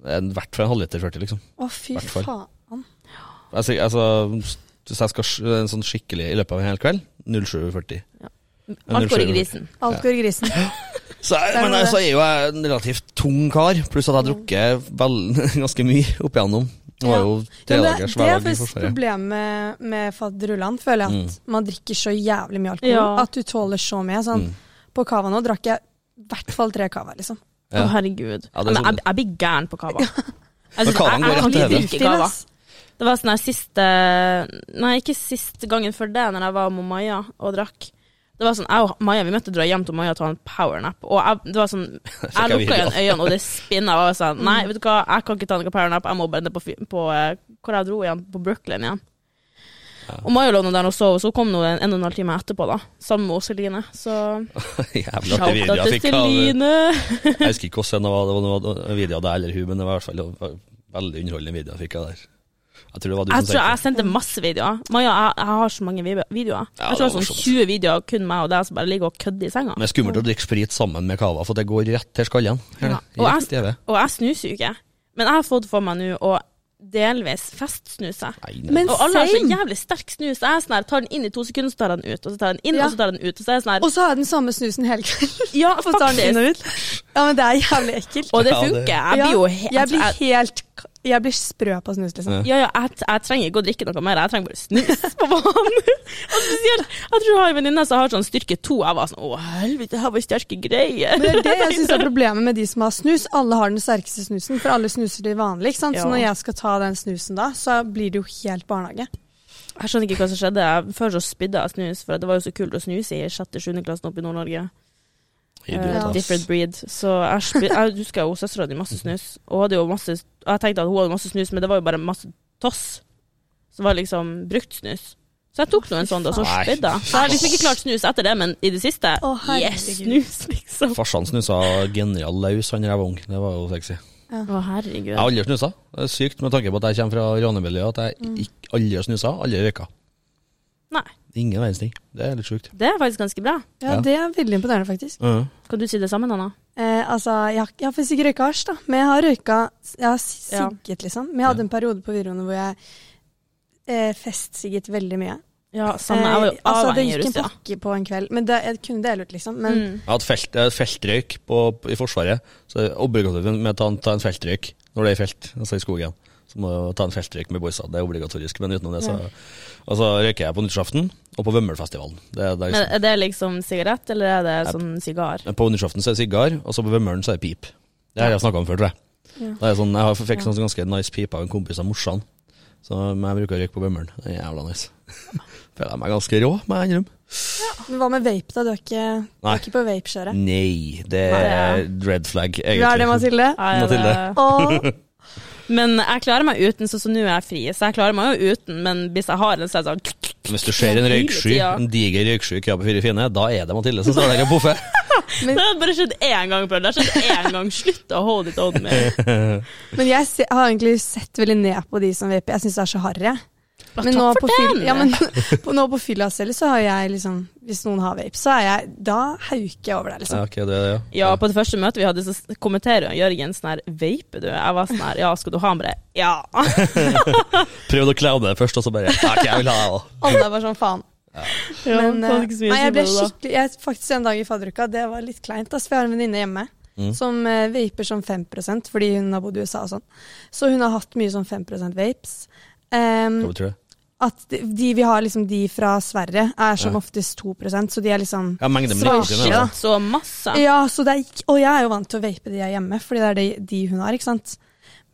Speaker 2: En- Hvert for en halvliter 40, liksom.
Speaker 3: Å, fy
Speaker 2: Hvertfall.
Speaker 3: faen.
Speaker 2: Altså, altså hvis jeg skal sk- en sånn skikkelig i løpet av en hel kveld, 0740. Ja,
Speaker 1: Alt går i
Speaker 2: 07.
Speaker 1: grisen.
Speaker 3: Alt går i grisen.
Speaker 2: Så, jeg- men altså, jeg-
Speaker 3: noe det. Mm.
Speaker 2: så er jo jeg en relativt tung kar, pluss at jeg har drukket vel, ganske mye opp igjennom. Det var
Speaker 3: Ja.
Speaker 2: jo
Speaker 3: Ja,
Speaker 2: tre
Speaker 3: men
Speaker 2: dagers
Speaker 3: det, det er
Speaker 2: hverdag i
Speaker 3: faktisk
Speaker 2: Forsvaret.
Speaker 3: problemet med, med fadderullan, føler jeg. At man drikker så jævlig mye alkohol
Speaker 1: Ja.
Speaker 3: at du tåler så mye.
Speaker 2: Mm.
Speaker 3: Sånn. På cava nå drakk jeg i hvert fall tre cava, liksom.
Speaker 1: Å, herregud.
Speaker 2: Ja, det er
Speaker 1: Men
Speaker 2: sånn-
Speaker 1: jeg, jeg blir gæren på cava. Jeg,
Speaker 2: Men
Speaker 1: synes- jeg,
Speaker 2: cavaen går
Speaker 1: jeg
Speaker 2: rett
Speaker 1: kan
Speaker 2: til
Speaker 1: ikke
Speaker 2: helvete.
Speaker 1: drikke
Speaker 3: Fin,
Speaker 1: cava.
Speaker 3: ass.
Speaker 1: Det var sånn her siste Nei, ikke siste gangen før det, når jeg var med Maja og drakk. Det var sånn, Jeg og Maja vi møtte dra hjem til Maja og ta en powernap. Og jeg, det var sånn, jeg
Speaker 2: jeg
Speaker 1: lukka
Speaker 2: virkelig,
Speaker 1: igjen øynene, og det spinna. Og jeg sa nei,
Speaker 2: Mm.
Speaker 1: vet du hva, jeg kan ikke ta noen powernap, jeg må bare ned på, fy- på eh, hvor jeg dro igjen, på Brooklyn igjen. Og Maja lå nå der og sov, og så kom hun en, en og en halv time etterpå, da, sammen med Åseline. Så
Speaker 2: Jævlig artig video
Speaker 1: shout-out til
Speaker 2: jeg fikk av
Speaker 1: Line!
Speaker 2: Jeg husker ikke hvordan det var, det var noen video av deg eller hun, men det var i hvert fall det var veldig underholdende video jeg fikk av der. Jeg tror det var du
Speaker 1: Jeg
Speaker 2: som
Speaker 1: tror jeg
Speaker 2: tenkte
Speaker 1: sendte masse videoer. Maja, jeg, jeg har så mange vi- videoer.
Speaker 2: Ja,
Speaker 1: jeg tror
Speaker 2: det var
Speaker 1: det er sånn
Speaker 2: morsomt.
Speaker 1: 20 videoer kun meg og deg som bare ligger og kødder i senga.
Speaker 2: Men det er skummelt å drikke sprit sammen med cava, for det går rett til skallen. Her,
Speaker 1: Ja.
Speaker 2: ja.
Speaker 1: Og jeg-
Speaker 2: Rett i øyet.
Speaker 1: Og jeg snuser jo ikke. Men jeg har fått for meg nå å delvis festsnuse.
Speaker 2: Nei, nei.
Speaker 3: Men
Speaker 1: Og alle har så
Speaker 3: same!
Speaker 1: jævlig sterk snus. Jeg er sånn her, tar den inn i to sekunder, så tar jeg den ut. Og så tar jeg den inn,
Speaker 3: Ja.
Speaker 1: og så tar jeg den ut. Og så er jeg sånn her
Speaker 3: Og så har jeg den samme snusen hele kvelden.
Speaker 1: Ja,
Speaker 3: Så tar den
Speaker 1: faktisk.
Speaker 3: inn og ut. Ja, men det er jævlig ekkelt.
Speaker 1: Og det
Speaker 2: Ja, det-
Speaker 1: funker. Jeg blir jo
Speaker 3: Ja,
Speaker 1: helt
Speaker 3: jeg blir
Speaker 1: jeg-
Speaker 3: helt Jeg blir sprø på snus, liksom.
Speaker 1: Ja, ja, jeg, jeg trenger ikke å drikke noe mer, jeg trenger bare snus på banen. Og spesielt, jeg tror jeg har en venninne som har sånn styrke to. Jeg var sånn, å helvete, det her var sterke greier.
Speaker 3: Men det er det jeg syns er problemet med de som har snus. Alle har den sterkeste snusen, for alle snuser de vanlig. ikke sant?
Speaker 1: Ja.
Speaker 3: Så når jeg skal ta den snusen da, så blir det jo helt barnehage.
Speaker 1: Jeg skjønner ikke hva som skjedde. Jeg- Før så spydde jeg snus, for det var jo så kult å snuse i 6.-7. klassen oppe i Nord-Norge.
Speaker 2: Idiot,
Speaker 1: Eh,
Speaker 2: ass.
Speaker 1: different breed. Så jeg, spy- jeg husker jo søstera di masse snus. Og hadde jo masse, og jeg tenkte at hun hadde masse snus, men det var jo bare masse toss. Som var liksom brukt snus. Så jeg tok nå en sånn, da, så
Speaker 2: Nei.
Speaker 1: spydde jeg. Så jeg har liksom ikke klart snus etter det, men i det siste
Speaker 3: Å, herregud.
Speaker 1: Yes, snus, liksom.
Speaker 2: Farsan snusa genial løs han da jeg var ung. Det var jo sexy.
Speaker 1: Å, herregud.
Speaker 2: Jeg har aldri snusa. Det er sykt med tanke på at jeg kommer fra ranemiljøet, at jeg ikke aldri har snusa, aldri røyka.
Speaker 1: Mm. Nei.
Speaker 2: Ingen verdens ting. Det er litt sjukt.
Speaker 1: Det er faktisk ganske bra.
Speaker 3: Ja,
Speaker 2: Ja.
Speaker 3: det er veldig imponerende, faktisk.
Speaker 1: Kan du si det sammen, Anna?
Speaker 3: Eh, altså, jeg har, jeg har faktisk ikke røyka hasj, da, men jeg har røyka Jeg har
Speaker 1: Ja.
Speaker 3: sigget, liksom. Men jeg hadde en periode på videregående hvor jeg eh, festsigget veldig mye.
Speaker 1: Ja, samme. Sånn, Jeg var jo
Speaker 3: Eh, altså, det
Speaker 1: avhengig
Speaker 3: gikk en
Speaker 1: russ, ja.
Speaker 3: pakke på en kveld, men det, jeg kunne dele ut, liksom. Men
Speaker 1: Mm.
Speaker 2: Jeg hadde felt, jeg hadde feltrøyk på, på, i Forsvaret, så det er obligatorisk med å ta, en- ta en feltrøyk når det er i felt, altså i skogen. Så må du ta en feltrøyk med boysa, det er obligatorisk. Men utenom det, så Og så røyker jeg på nyttårsaften og på Vømmølfestivalen. Det, er- det er
Speaker 1: Men
Speaker 2: liksom.
Speaker 1: er det liksom sigarett, eller er det sånn sigar?
Speaker 2: Men på nyttårsaften så er det sigar, og så på Vømmølen så er det pip. Det har jeg snakka om før, tror jeg.
Speaker 3: Ja.
Speaker 2: Det er sånn, jeg har- fikk sånn ganske nice pipe av en kompis av morsan, så men jeg bruker å røyke på Vømmølen. Det er jævla nice. Føler jeg meg ganske rå, må jeg innrømme.
Speaker 3: Men hva med vape, da? Du er ikke, du
Speaker 2: Nei.
Speaker 3: er ikke på
Speaker 1: Mm,
Speaker 3: vape-kjøret?
Speaker 2: Nei, det
Speaker 1: Nei,
Speaker 2: er red flag, egentlig.
Speaker 3: Hva er det, Mathilde?
Speaker 1: Ja, ja,
Speaker 2: Mathilde.
Speaker 1: det-
Speaker 3: Og
Speaker 1: Men jeg klarer meg uten, så, så nå er jeg fri. Så jeg klarer meg jo uten, men hvis jeg har en, så er det sånn
Speaker 2: Hvis du ser en røyksky,
Speaker 1: Ja.
Speaker 2: en diger røyksky i Krabbet fire fine, da er det Mathilde som står der og poffer.
Speaker 1: Det har bare skjedd én gang før. Det har skjedd én gang. Slutt å hold it on me.
Speaker 3: Men jeg se, har egentlig sett veldig ned på de som vaper. Jeg syns det er så harry. Men, nå på, fyll, ja, men på, nå på fylla selv, så har jeg liksom Hvis noen har vape, så er jeg Da hauker jeg over
Speaker 2: Ja,
Speaker 3: deg, liksom.
Speaker 2: ok, det er det, ja.
Speaker 1: Ja, på det første møtet vi hadde, så s- kommenterer jo Jørgen sånn her Vaper du? Jeg var sånn her Ja, skal du ha med det? Ja.
Speaker 2: Prøvde å klaune det først, og så bare Takk, jeg vil ha det. også."
Speaker 3: Alle er bare sånn faen. Men, eh, nei, jeg ble
Speaker 1: skikkelig
Speaker 3: skikkelig jeg, Faktisk en dag i fadderuka, det var litt kleint. Ass, for jeg har en venninne hjemme
Speaker 2: Mm.
Speaker 3: som eh, vaper som 5 fordi hun har bodd i USA og sånn. Så hun har hatt mye sånn 5 vapes. Um,
Speaker 2: Hva betyr det?
Speaker 3: at de, de vi har, liksom de fra Sverige, er som
Speaker 2: Ja.
Speaker 3: oftest 2 så de er liksom
Speaker 2: Ja, mengde med
Speaker 3: Svakere,
Speaker 2: nikotin.
Speaker 3: da.
Speaker 2: altså.
Speaker 1: Så masse.
Speaker 3: Ja, så det er, ikke- og jeg er jo vant til å vape de jeg er hjemme, fordi det er de, de hun har, ikke sant.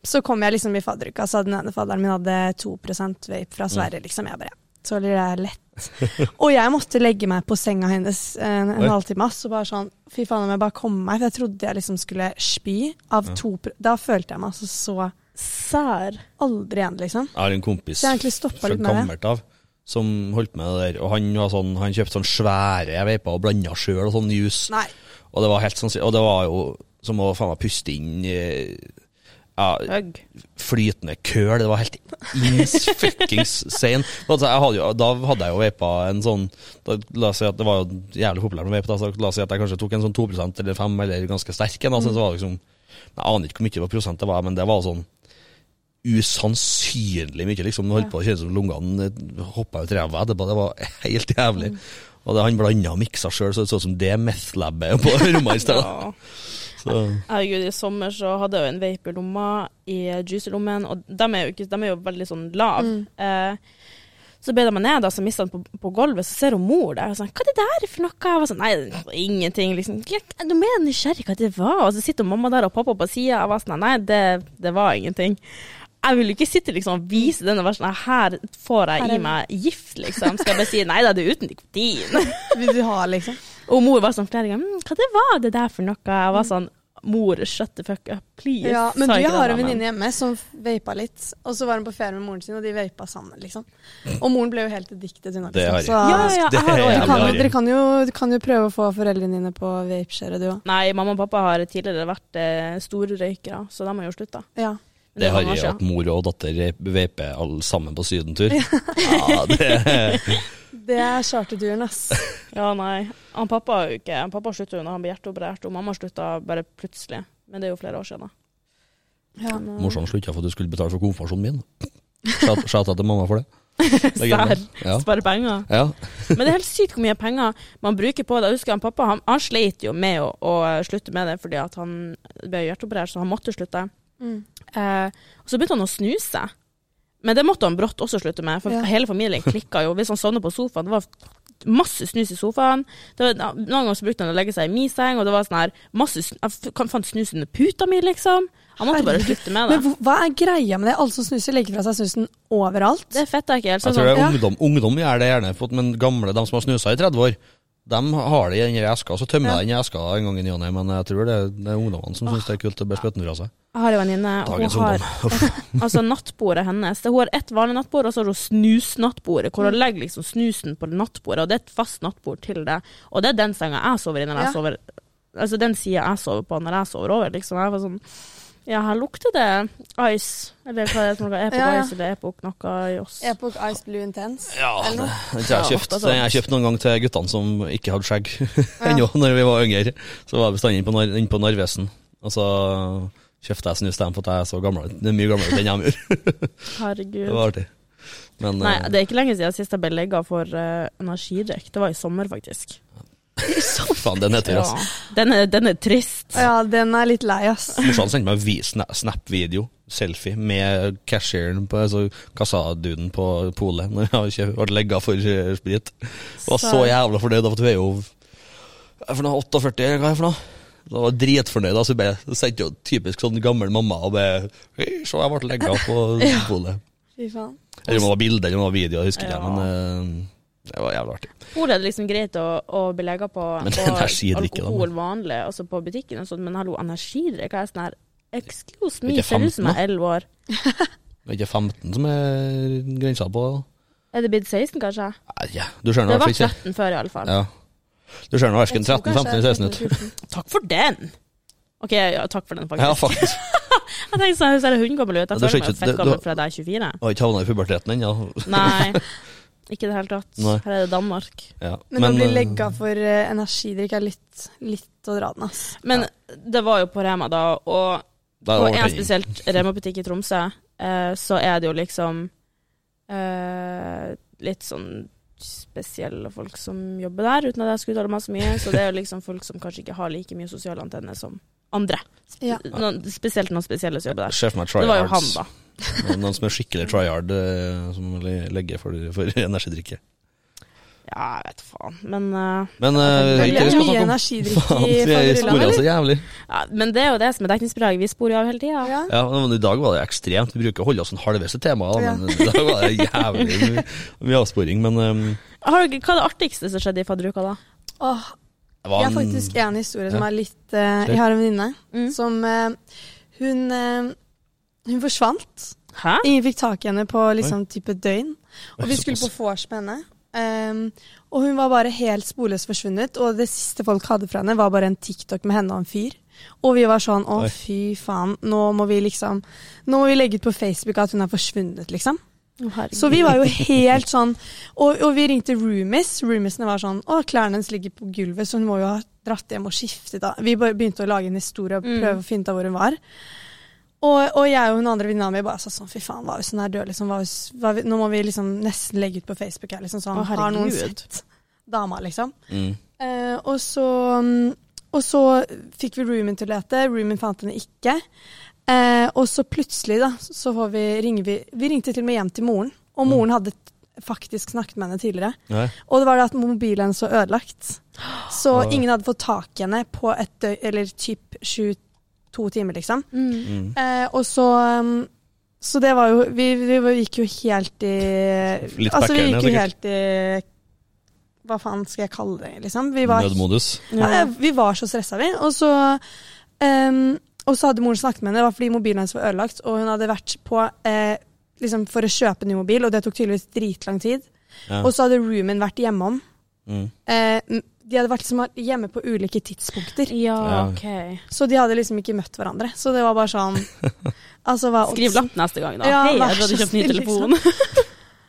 Speaker 3: Så kom jeg liksom i fadderuka, så hadde den ene fadderen min hadde 2 vape fra Sverige, liksom. Jeg bare, så blir det lett. Og jeg måtte legge meg på senga hennes eh, en, en
Speaker 2: Oi.
Speaker 3: halvtime, ass, og bare sånn, fy faen om jeg bare kom meg, for jeg trodde jeg liksom skulle spy av 2 Da følte jeg meg altså så
Speaker 1: Sær.
Speaker 3: aldri igjen, liksom.
Speaker 2: Jeg har en kompis
Speaker 3: Så jeg har egentlig stoppet
Speaker 2: fra
Speaker 3: litt med det.
Speaker 2: gammelt av som holdt med det der, og han, var sånn, han kjøpte sånn svære veiper og blanda sjøl og sånn juice.
Speaker 3: Nei.
Speaker 2: Og det var helt sånn, og det var jo som å faen meg puste inn eh, ja,
Speaker 1: Høgg.
Speaker 2: flytende køl. Det var helt ins fuckings sane. Men Altså, jeg hadde jo, da hadde jeg jo vapa en sånn da, La oss si at det var jo jævlig populært med vape. Da, så la oss si at jeg kanskje tok en sånn 2 eller 5 eller ganske sterk en. Altså, så var det liksom, jeg aner ikke hvor mye det var prosent det var, men det var sånn usannsynlig mye. liksom, Det holdt på å kjennes som lungene hoppa ut ræva etterpå. Det var helt jævlig. Og det, Han blanda og miksa sjøl, så det så ut som det meth-labet på rommet i stedet.
Speaker 1: Ja.
Speaker 2: Så,
Speaker 1: Herregud, i sommer så hadde jeg jo en vape i lomma, i juice-lommen, og de er jo, ikke, de er jo veldig sånn lav.
Speaker 3: Mm.
Speaker 1: Eh, så bøyde jeg meg ned, da, så mistet den på, på gulvet, så ser hun mor der, og sånn, hva er det der for noe? Jeg var sånn, nei, det var ingenting, liksom. «Ja, Er du mer nysgjerrig hva det var? Og så sitter mamma der og pappa på siden, jeg var sånn, nei, det, det var ingenting. Jeg vil jo ikke sitte liksom, og vise denne versen. Her får jeg
Speaker 3: Her er
Speaker 1: i meg gift, liksom. Skal jeg bare si nei da, det er uten nikotin.
Speaker 3: Vil du ha, liksom?
Speaker 1: Og mor var sånn flere ganger «Mm, Hva det var det der for noe? Jeg var sånn Mor, shut the fuck up, please.
Speaker 3: Ja, men
Speaker 1: Sa
Speaker 3: du,
Speaker 1: ikke
Speaker 3: jeg har
Speaker 1: det,
Speaker 3: en
Speaker 1: men-
Speaker 3: venninne hjemme som vapa litt. Og så var hun på ferie med moren sin, og de vapa sammen, liksom. Og moren ble jo helt addicted. Hun,
Speaker 2: Det har jeg.
Speaker 3: liksom. Så
Speaker 1: Ja, ja, jeg har også
Speaker 2: Det er
Speaker 3: du kan, jo-
Speaker 2: jævlig
Speaker 3: dere
Speaker 2: harry.
Speaker 3: kan jo, du kan jo prøve å få foreldrene dine på vapeskjæret, du òg.
Speaker 1: Nei, mamma og pappa har tidligere vært eh, store røykere, så de har jo slutta.
Speaker 3: Ja.
Speaker 1: Men
Speaker 2: Det
Speaker 1: var
Speaker 2: harry
Speaker 1: mange år
Speaker 2: at
Speaker 1: siden.
Speaker 2: mor og datter veiper alle sammen på sydentur. Ja, det
Speaker 3: Det er charterturen, ass.
Speaker 1: Ja, nei. Han pappa har jo ikke han Pappa slutta jo når han ble hjerteoperert, og mamma slutta bare plutselig. Men det er jo flere år siden. da.
Speaker 3: Ja.
Speaker 1: Men, eh,
Speaker 2: Morsan slutta for at du skulle betale for konfirmasjonen min. Shout- Shout out til mamma for det. Legende.
Speaker 1: Sær.
Speaker 2: Ja.
Speaker 1: Spare penger.
Speaker 2: ja.
Speaker 1: Men det er helt sykt hvor mye penger man bruker på det. Jeg husker han pappa han, han sleit jo med å, å slutte med det fordi at han ble hjerteoperert, så han måtte slutte.
Speaker 3: Mm.
Speaker 1: Eh, og så begynte han å snuse. Men det måtte han brått også slutte med, for
Speaker 3: Ja.
Speaker 1: hele familien klikka jo. Hvis han sovna på sofaen, det var masse snus i sofaen. Det var, noen ganger så brukte han å legge seg i min seng, og det var sånn her masse, sn- Jeg f- kan- fant snus under puta mi, liksom. Han måtte bare slutte med
Speaker 3: Men
Speaker 1: det.
Speaker 3: hvor- hva er greia med det? Alle som snuser, legger fra seg snusen overalt.
Speaker 1: Det fatter jeg ikke helt.
Speaker 2: Jeg
Speaker 1: Så
Speaker 2: tror det
Speaker 1: sånn,
Speaker 2: er
Speaker 3: Ja.
Speaker 2: ungdom. Ungdom gjør det gjerne, for at- men gamle, de som har snusa i 30 år, de har det i den her eska. Så tømmer jeg den i eska en gang i ny og ne, men jeg tror det er, det er ungdommene som syns det er kult å bli spytten fra seg.
Speaker 1: jeg har en venninne, og
Speaker 2: Dagens
Speaker 1: hun har
Speaker 2: ungdom.
Speaker 1: Altså nattbordet hennes. Det, hun har ett vanlig nattbord, og så har hun snusnattbordet, hvor hun
Speaker 3: Mm.
Speaker 1: legger liksom snusen på nattbordet, og det er et fast nattbord til det. Og det er den senga jeg sover i når jeg
Speaker 3: Ja.
Speaker 1: sover Altså den sida jeg sover på når jeg sover over, liksom. Jeg var sånn Ja, her lukter det ice, eller hva er det som er Epoch
Speaker 3: Ja, ja.
Speaker 1: Ice eller Epoch noe i oss.
Speaker 3: Epoch Ice Blue Intense.
Speaker 2: Ja,
Speaker 3: Eller noe.
Speaker 2: den tror jeg
Speaker 1: Ja,
Speaker 2: jeg kjøpte
Speaker 1: ofte sånn.
Speaker 2: Den jeg kjøpte noen gang til guttene som ikke hadde skjegg ennå, når vi var yngre. Så var jeg bestandig inne på, Nar- inne på Narvesen, og så kjøpte jeg snus til dem for at jeg er så gammel ut. Det er mye gamlere ut enn jeg gjorde.
Speaker 1: Herregud.
Speaker 2: Det var artig. Men
Speaker 1: Nei,
Speaker 2: eh,
Speaker 1: det er ikke lenge siden sist jeg ble legga for uh, energidrikk. Det var i sommer, faktisk.
Speaker 2: faen, den heter altså.
Speaker 1: Den, er, den er trist.
Speaker 3: Ja, den er litt lei, ass.
Speaker 2: Morsan sendte meg vi- sna- snap-video, selfie, med cashieren på altså, kassaduden på polet når jeg ikke ble legga for eh, sprit. Var så jævla fornøyd, da, for at hun er jo hva er det for noe, 48, eller hva er det for noe? Da var jeg dritfornøyd. Altså, hun bare- hun sendte jo typisk sånn gammel mamma og bare «Hei, Se, jeg ble legga på polet.
Speaker 3: Fy faen.
Speaker 2: Eller om det var bilde eller om det var video, jeg husker ikke,
Speaker 1: Ja.
Speaker 2: men eh, det var jævlig artig.
Speaker 1: Hvor er det liksom greit å, å bli lega på,
Speaker 2: Men
Speaker 1: på
Speaker 2: energidrikke, da,
Speaker 1: alkohol vanlig, altså på butikken og sånn, men hallo, energidrikk er sånn her Excuse me,
Speaker 2: Ikke
Speaker 1: ser ut som jeg
Speaker 2: 15
Speaker 1: er 11 år.
Speaker 2: Det er ikke 15 som er grensa på
Speaker 1: Er det blitt 16, kanskje?
Speaker 2: Nei, ja. Du ser nå
Speaker 1: Det
Speaker 2: i hvert
Speaker 1: var
Speaker 2: fall ikke
Speaker 1: 13 før, i alle fall.
Speaker 2: ja. Du ser nå
Speaker 3: Jeg
Speaker 2: verken
Speaker 3: tror
Speaker 2: 13, 15 eller
Speaker 3: kanskje
Speaker 2: 16 ut.
Speaker 3: 14.
Speaker 1: Takk for den! OK, ja, takk for den,
Speaker 2: Ja,
Speaker 1: faktisk.
Speaker 2: faktisk.
Speaker 1: Jeg tenkte sånn, ser jeg hundegammel ut?
Speaker 2: Ja,
Speaker 1: Jeg føler meg
Speaker 2: du ser ikke-
Speaker 1: jo
Speaker 2: det-
Speaker 1: fett
Speaker 2: du-
Speaker 1: gammel fordi jeg er 24.
Speaker 2: Jeg har ikke havna i puberteten ennå.
Speaker 1: Nei, ikke i det hele tatt.
Speaker 2: Nei.
Speaker 1: Her er det Danmark.
Speaker 2: Ja.
Speaker 3: Men, å bli
Speaker 2: eh,
Speaker 3: legga for eh, energidrikk er litt, litt å dra den, ass.
Speaker 1: Men det var jo på Rema da, og
Speaker 2: det er
Speaker 1: På en
Speaker 2: overtenning.
Speaker 1: spesielt Rema-butikk i Tromsø, eh, så er det jo liksom eh, litt sånn spesielle folk som jobber der, uten at jeg skal uttale meg så mye. Så det er jo liksom folk som kanskje ikke har like mye sosiale antenner som andre.
Speaker 3: Ja.
Speaker 1: Noen, spesielt noen spesielle som jobber der.
Speaker 2: Sjef meg
Speaker 1: Det var jo han,
Speaker 2: tryhards.
Speaker 1: da.
Speaker 2: Noen- Noen som er skikkelig tryhard, eh, som le- legger for, for energidrikke.
Speaker 1: Ja, jeg vet faen. Men, eh, Det
Speaker 2: Men eh,
Speaker 1: er
Speaker 2: det er ikke det vi
Speaker 3: Det er
Speaker 2: skal
Speaker 3: mye
Speaker 2: snakke om.
Speaker 3: energidrikk
Speaker 2: Faen,
Speaker 3: i
Speaker 2: vi sporer
Speaker 3: favorittlandet,
Speaker 2: så jævlig.
Speaker 1: ja, men det er jo det som er dekningsbidraget. Vi sporer jo av hele tida.
Speaker 3: eller? Ja.
Speaker 2: Ja, men I dag var det ekstremt. Vi bruker å holde oss en halvveis til temaet, da, men i dag var det jævlig mye- mye avsporing. Men eh,
Speaker 1: Har dere- Hva er det artigste som skjedde i fadderuka, da?
Speaker 3: Åh,
Speaker 2: det
Speaker 3: jeg
Speaker 2: var
Speaker 3: har faktisk en historie som
Speaker 2: Ja.
Speaker 3: er litt eh,
Speaker 2: Kjør.
Speaker 3: Jeg har en venninne
Speaker 1: Mm.
Speaker 3: som eh, Hun eh, Hun forsvant.
Speaker 1: Hæ?
Speaker 3: Ingen fikk tak i henne på liksom type døgn. Og vi skulle på
Speaker 2: såpass.
Speaker 3: vors med henne. ehm, og hun var bare helt sporløst forsvunnet. Og det siste folk hadde fra henne, var bare en TikTok med henne og en fyr. Og vi var sånn å,
Speaker 2: Oi.
Speaker 3: fy faen, nå må vi liksom Nå må vi legge ut på Facebook at hun er forsvunnet, liksom.
Speaker 1: Å, herregud.
Speaker 3: Så vi var jo helt sånn Og, og vi ringte roomies. Roomiesene var sånn Å, klærne hennes ligger på gulvet, så hun må jo ha dratt hjem og skiftet. Da. Vi bare begynte å lage en historie og
Speaker 1: Mm.
Speaker 3: prøve å finne ut av hvor hun var. Og, og jeg og hun andre venninna mi bare sa sånn Fy faen, var hvis hun er død, liksom? Var hvis, var vi, nå må vi liksom nesten legge ut på Facebook her, liksom. Sånn,
Speaker 1: Å,
Speaker 3: har noen
Speaker 1: herregud.
Speaker 3: sett dama, liksom?
Speaker 2: Mm.
Speaker 3: Eh, og, så, mm, og så fikk vi roomien til å lete. Roomien fant henne ikke. Eh, og så plutselig, da, så får vi ringe vi, vi ringte til og med hjem til moren.
Speaker 2: Mm.
Speaker 3: Og moren hadde t- faktisk snakket med henne tidligere.
Speaker 2: Nei.
Speaker 3: Og det var det at mobilen hennes var ødelagt. Så
Speaker 2: Oi.
Speaker 3: ingen hadde fått tak i henne på et døgn, eller typ 22 timer, liksom.
Speaker 1: Mm.
Speaker 2: Mm.
Speaker 3: Eh, og så, mm, Så det var jo Vi, vi var- gikk jo helt i
Speaker 2: Litt
Speaker 3: Altså, vi
Speaker 2: backerne,
Speaker 3: gikk jo
Speaker 2: sikkert.
Speaker 3: helt i Hva faen skal jeg kalle det, liksom? Vi var,
Speaker 2: Nødmodus.
Speaker 3: ja, vi var så stressa, vi. Og så ehm, Og så hadde moren snakket med henne, det var fordi mobilen hennes var ødelagt, og hun hadde vært på eh, liksom for å kjøpe ny mobil, og det tok tydeligvis dritlang tid.
Speaker 2: Ja.
Speaker 3: Og så hadde roomien vært hjemom.
Speaker 2: Mm.
Speaker 3: Eh, de hadde vært liksom hjemme på ulike tidspunkter.
Speaker 1: Ja,
Speaker 2: Ja.
Speaker 1: OK.
Speaker 3: Så de hadde liksom ikke møtt hverandre. Så det var bare sånn altså, hva-
Speaker 1: Skriv lapp neste gang, da.
Speaker 3: Ja,
Speaker 1: Hei,
Speaker 3: vær
Speaker 1: jeg hadde
Speaker 3: så
Speaker 1: kjøpt ny
Speaker 3: snill, liksom.
Speaker 1: telefon.